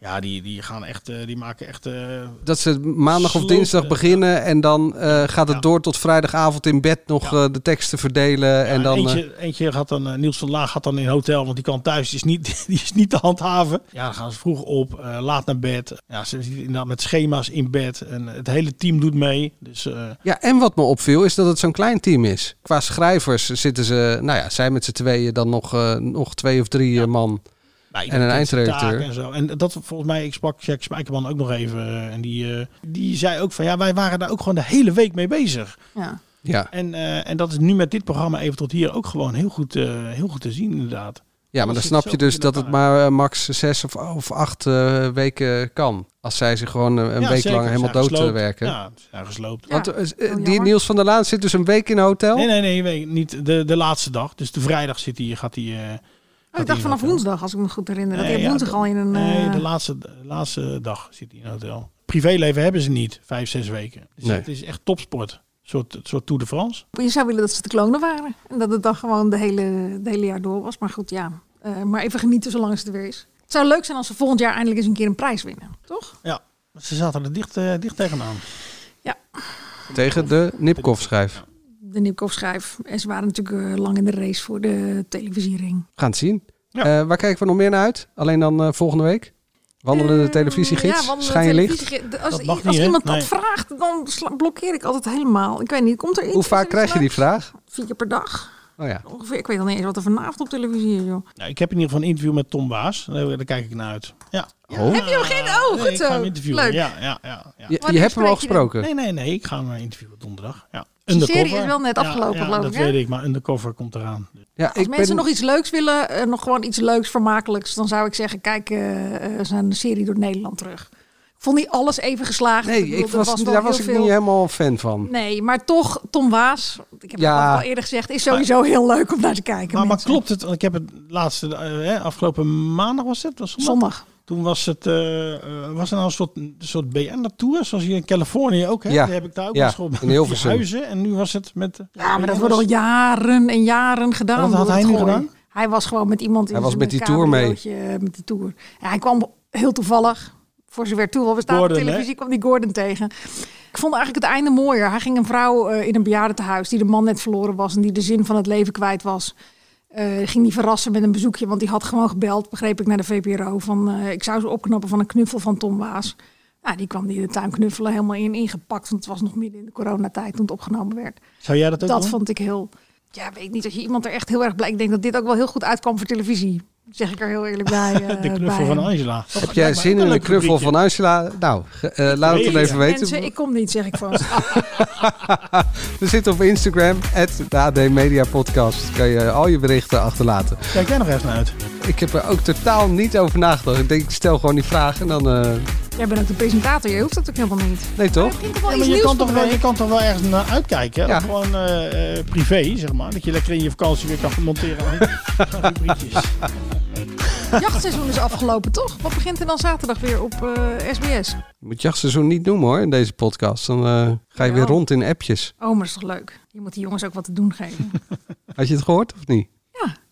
Speaker 14: Ja, die, die gaan echt, eh, die maken echt. eh,
Speaker 8: dat ze maandag of
Speaker 14: Sloten,
Speaker 8: dinsdag
Speaker 14: eh, ja.
Speaker 8: beginnen en dan eh, gaat het door tot vrijdagavond in bed nog eh, de teksten verdelen. en dan, eh,
Speaker 14: eentje, eentje gaat dan, eh, Niels van Laag gaat dan in een hotel, want die kan thuis, die is niet, die is niet te handhaven. Ja, dan gaan ze vroeg op, eh, laat naar bed. Ja, ze zitten inderdaad met schema's in bed en het hele team doet mee. Dus eh,
Speaker 8: Ja, en wat me opviel is dat het zo'n klein team is. Qua schrijvers zitten ze, nou ja, zij met z'n tweeën, dan nog, eh, nog twee of drie eh, man.
Speaker 14: Nou,
Speaker 8: en
Speaker 14: iedereen
Speaker 8: een
Speaker 14: kent zijn
Speaker 8: eindredacteur.
Speaker 14: taken En, zo. en dat volgens mij, ik sprak Jack Spijkerman ook nog even. eh, En die, eh, die zei ook van ja, wij waren daar ook gewoon de hele week mee bezig.
Speaker 13: Ja. Oh,
Speaker 8: Ja.
Speaker 14: En, eh, en dat is nu met dit programma even tot hier ook gewoon heel goed, eh, heel goed te zien, inderdaad.
Speaker 8: Ja, maar dan snap je dus dat het maar eh, max zes of, of acht eh, weken kan. Als zij zich gewoon eh, een week lang helemaal dood eh, werken.
Speaker 14: Ja, ze zijn gesloopt.
Speaker 8: Want eh, eh,
Speaker 13: Oh,
Speaker 8: die Niels van der Laan zit dus een week in een hotel.
Speaker 14: Nee, nee, nee, nee, niet de, de laatste dag. Dus de vrijdag zit hij, gaat hij. eh,
Speaker 13: Oh, ik
Speaker 14: hij
Speaker 13: dacht vanaf woensdag, als ik me goed herinner. Dat
Speaker 14: Nee,
Speaker 13: hij
Speaker 14: ja,
Speaker 13: op woensdag
Speaker 14: de-
Speaker 13: al in een...
Speaker 14: nee,
Speaker 13: eh,
Speaker 14: de laatste, de laatste dag zit hij in een hotel. Privéleven hebben ze niet, vijf, zes weken. Dus
Speaker 8: Nee.
Speaker 14: het is echt topsport. Een soort, een soort Tour de France.
Speaker 13: Je zou willen dat ze de klonen waren. En dat het dan gewoon de hele, de hele jaar door was. Maar goed, ja. Eh, maar even genieten zolang ze er weer is. Het zou leuk zijn als ze volgend jaar eindelijk eens een keer een prijs winnen. Toch?
Speaker 14: Ja, ze zaten er dicht, eh, dicht tegenaan.
Speaker 8: Tegen de Nipkoff schrijf.
Speaker 13: De Nipkoff schrijf. En ze waren natuurlijk eh, lang in de race voor de televisiering.
Speaker 8: We gaan het zien. Eh, waar kijken we nog meer naar uit? Alleen dan eh, volgende week? Wandelende televisiegids?
Speaker 13: want Ehm, de
Speaker 8: Schijnlicht?
Speaker 13: televisie- Als,
Speaker 8: Dat mag
Speaker 13: als
Speaker 8: niet, hè?
Speaker 13: iemand dat
Speaker 8: Nee.
Speaker 13: vraagt, dan sla- blokkeer ik altijd helemaal. Ik weet niet, komt er iets?
Speaker 8: Hoe vaak krijg je die vraag?
Speaker 13: Vier keer per dag.
Speaker 8: Oh ja.
Speaker 13: Ongeveer. Ik weet al niet eens wat er vanavond op televisie is, joh.
Speaker 14: Nou, ik heb in ieder geval een interview met Tom Baas. Daar, daar kijk ik naar uit. Ja.
Speaker 8: Oh.
Speaker 13: Heb je hem geen? Oh,
Speaker 14: Nee,
Speaker 13: goed
Speaker 14: ik ga
Speaker 13: zo.
Speaker 14: hem interviewen.
Speaker 13: Leuk.
Speaker 14: Ja, ja, ja, ja.
Speaker 8: Je- je Wanneer hebt hem al spreek je dan? gesproken?
Speaker 14: Nee, nee, nee. Ik ga hem eh, interviewen donderdag. Ja.
Speaker 13: Dus die serie
Speaker 14: Undercover.
Speaker 13: is wel net
Speaker 14: Ja,
Speaker 13: afgelopen,
Speaker 14: ja,
Speaker 13: geloof
Speaker 14: dat
Speaker 13: ik, hè?
Speaker 14: weet ik. Maar Undercover komt eraan.
Speaker 8: Ja,
Speaker 13: Als mensen nog iets leuks willen, eh, nog gewoon iets leuks, vermakelijks, dan zou ik zeggen: kijk eh, eh, zijn serie door Nederland terug. Ik vond niet alles even geslaagd.
Speaker 8: Nee,
Speaker 13: bedoel,
Speaker 8: ik
Speaker 13: er
Speaker 8: was,
Speaker 13: wel
Speaker 8: daar was
Speaker 13: heel
Speaker 8: ik
Speaker 13: veel-
Speaker 8: niet helemaal fan van.
Speaker 13: Nee, maar toch, Tom Waas, ik heb
Speaker 8: Ja.
Speaker 13: het al eerder gezegd, is sowieso heel leuk om naar te kijken.
Speaker 14: Maar, maar
Speaker 13: mensen.
Speaker 14: klopt het? Want ik heb het laatste, eh, hè, afgelopen maandag was het? Was zondag?
Speaker 13: Zondag.
Speaker 14: Toen was het, eh, eh, was er nou een soort, een soort BN-tour, zoals hier in Californië ook. Hè?
Speaker 8: Ja.
Speaker 14: Die heb ik daar ook
Speaker 8: Ja,
Speaker 14: eens gehoord.
Speaker 8: in
Speaker 14: Met die
Speaker 8: Hilversum.
Speaker 14: Huizen. En nu was het met... dus
Speaker 13: Ja, maar dat wordt al jaren en jaren gedaan.
Speaker 14: Wat had
Speaker 13: door
Speaker 14: hij
Speaker 13: het
Speaker 14: nu
Speaker 13: gooien.
Speaker 14: gedaan?
Speaker 13: Hij was gewoon met iemand in
Speaker 8: Hij was
Speaker 13: zijn
Speaker 8: met die tour mee.
Speaker 13: cabriootje, eh, Met die tour. Ja, hij kwam heel toevallig, voor zover toeval bestaat op
Speaker 8: Gordon,
Speaker 13: televisie,
Speaker 8: hè?
Speaker 13: kwam die Gordon tegen. Ik vond eigenlijk het einde mooier. Hij ging een vrouw eh, in een bejaardentehuis die de man net verloren was en die de zin van het leven kwijt was. Eh, ging die verrassen met een bezoekje, want die had gewoon gebeld, begreep ik, naar de VPRO. Van, eh, ik zou ze opknappen van een knuffel van Tom Waas. Nou, die kwam die de tuin knuffelen helemaal in, ingepakt, want het was nog midden in de coronatijd toen het opgenomen werd.
Speaker 14: Zou jij dat ook
Speaker 13: Dat
Speaker 14: doen?
Speaker 13: vond ik heel. Ja, weet ik niet. Als je iemand er echt heel erg blij. Ik denk dat dit ook wel heel goed uitkwam voor televisie. Zeg ik er heel eerlijk bij. eh,
Speaker 14: De knuffel
Speaker 13: bij.
Speaker 14: van Angela. Dat
Speaker 8: Heb
Speaker 14: lijkt
Speaker 8: jij
Speaker 14: mij ook
Speaker 8: zin in
Speaker 14: leuk
Speaker 8: een knuffel
Speaker 14: rubriekje.
Speaker 8: van Angela? Nou, ge- eh, laat het dan
Speaker 14: weet
Speaker 8: even
Speaker 14: het.
Speaker 8: weten.
Speaker 13: Mensen, ik kom niet, zeg ik van.
Speaker 8: We zitten op Instagram, de AD Media Podcast. Kan je al je berichten achterlaten.
Speaker 14: Kijk jij nog even naar uit.
Speaker 8: Ik heb er ook totaal niet over nagedacht. Ik denk, ik stel gewoon die vraag en dan... eh,
Speaker 13: Jij bent ook de presentator. Je hoeft dat ook helemaal niet.
Speaker 8: nee, toch?
Speaker 13: Ik wel
Speaker 14: Ja,
Speaker 13: iets
Speaker 14: maar je,
Speaker 13: nieuws
Speaker 14: kan
Speaker 13: van
Speaker 14: toch
Speaker 13: de
Speaker 14: wel,
Speaker 13: week.
Speaker 14: je kan toch wel ergens naar uitkijken. hè?
Speaker 8: Ja.
Speaker 14: Gewoon eh, eh, privé, zeg maar. Dat je lekker in je vakantie weer kan monteren aan aan rubriekjes.
Speaker 13: Jachtseizoen is afgelopen, toch? Wat begint er dan zaterdag weer op eh, SBS?
Speaker 8: Je moet jachtseizoen niet noemen hoor, in deze podcast. Dan eh, ga je weer rond in appjes.
Speaker 13: Oh, maar is toch leuk? Je moet die jongens ook wat te doen geven.
Speaker 8: Had je het gehoord of niet?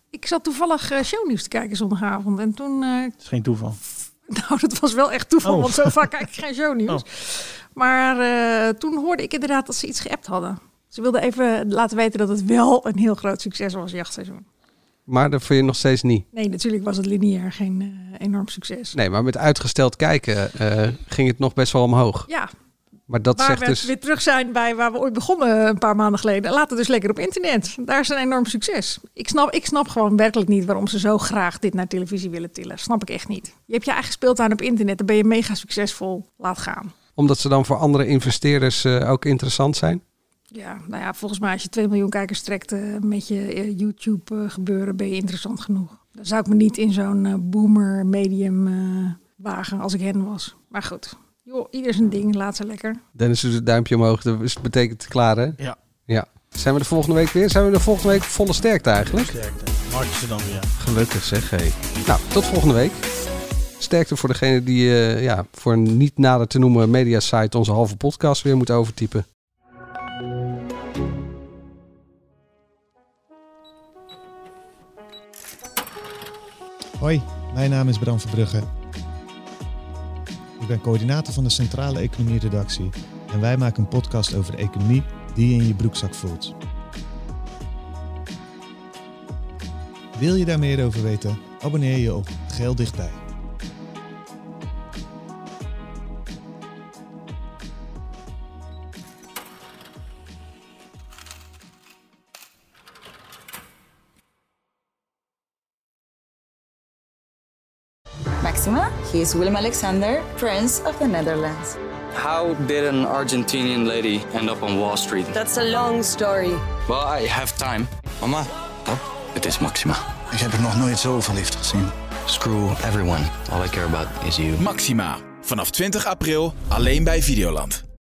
Speaker 13: ik zat toevallig eh, shownieuws te kijken zondagavond. En toen eh,
Speaker 14: Dat is geen toeval.
Speaker 13: Nou, dat was wel echt toeval,
Speaker 14: Oh.
Speaker 13: want zo vaak kijk ik geen shownieuws.
Speaker 8: Oh.
Speaker 13: Maar eh, toen hoorde ik inderdaad dat ze iets geappt hadden. Ze wilden even laten weten dat het wel een heel groot succes was, jachtseizoen.
Speaker 8: Maar dat vond je nog steeds niet.
Speaker 13: Nee, natuurlijk was het lineair geen eh, enorm succes.
Speaker 8: Nee, maar met uitgesteld kijken eh, ging het nog best wel omhoog.
Speaker 13: Ja,
Speaker 8: Maar dat
Speaker 13: waar we
Speaker 8: zegt dus...
Speaker 13: weer terug zijn bij waar we ooit begonnen een paar maanden geleden. Laat het dus lekker op internet. Daar is een enorm succes. Ik snap, ik snap gewoon werkelijk niet waarom ze zo graag dit naar televisie willen tillen. Snap ik echt niet. Je hebt je eigen speeltuin op internet, dan ben je mega succesvol. Laat gaan.
Speaker 8: Omdat ze dan voor andere investeerders eh, ook interessant zijn?
Speaker 13: Ja, nou ja, volgens mij als je 2 miljoen kijkers trekt eh, met je eh, YouTube eh, gebeuren, ben je interessant genoeg. Dan zou ik me niet in zo'n eh, boomer medium eh, wagen als ik hen was. Maar goed, joh, ieder zijn ding, laat ze lekker.
Speaker 8: Dennis doet het duimpje omhoog, dat is- betekent klaar hè?
Speaker 14: Ja.
Speaker 8: ja. Zijn we de volgende week weer? Zijn we de volgende week volle sterkte eigenlijk?
Speaker 14: Sterkte. Mark is er dan weer.
Speaker 8: Gelukkig zeg, hé. Nou, tot volgende week. Sterkte voor degene die eh, ja, voor een niet nader te noemen mediasite onze halve podcast weer moet overtypen.
Speaker 10: Hoi, mijn naam is Bram Verbrugge. Ik ben coördinator van de Centrale Economie Redactie en wij maken een podcast over de economie die je in je broekzak voelt. Wil je daar meer over weten? Abonneer je op Geel Dichtbij.
Speaker 1: Maxima, he is Willem Alexander, Prince of the Netherlands.
Speaker 2: How did an Argentinian lady end up on Wall Street?
Speaker 17: That's a long story.
Speaker 2: Well, I have time. Mama, huh? it is Maxima.
Speaker 18: Ik heb er nog nooit zoveel liefde gezien.
Speaker 2: Screw everyone. All I care about is you.
Speaker 3: Maxima, vanaf 20 april alleen bij Videoland.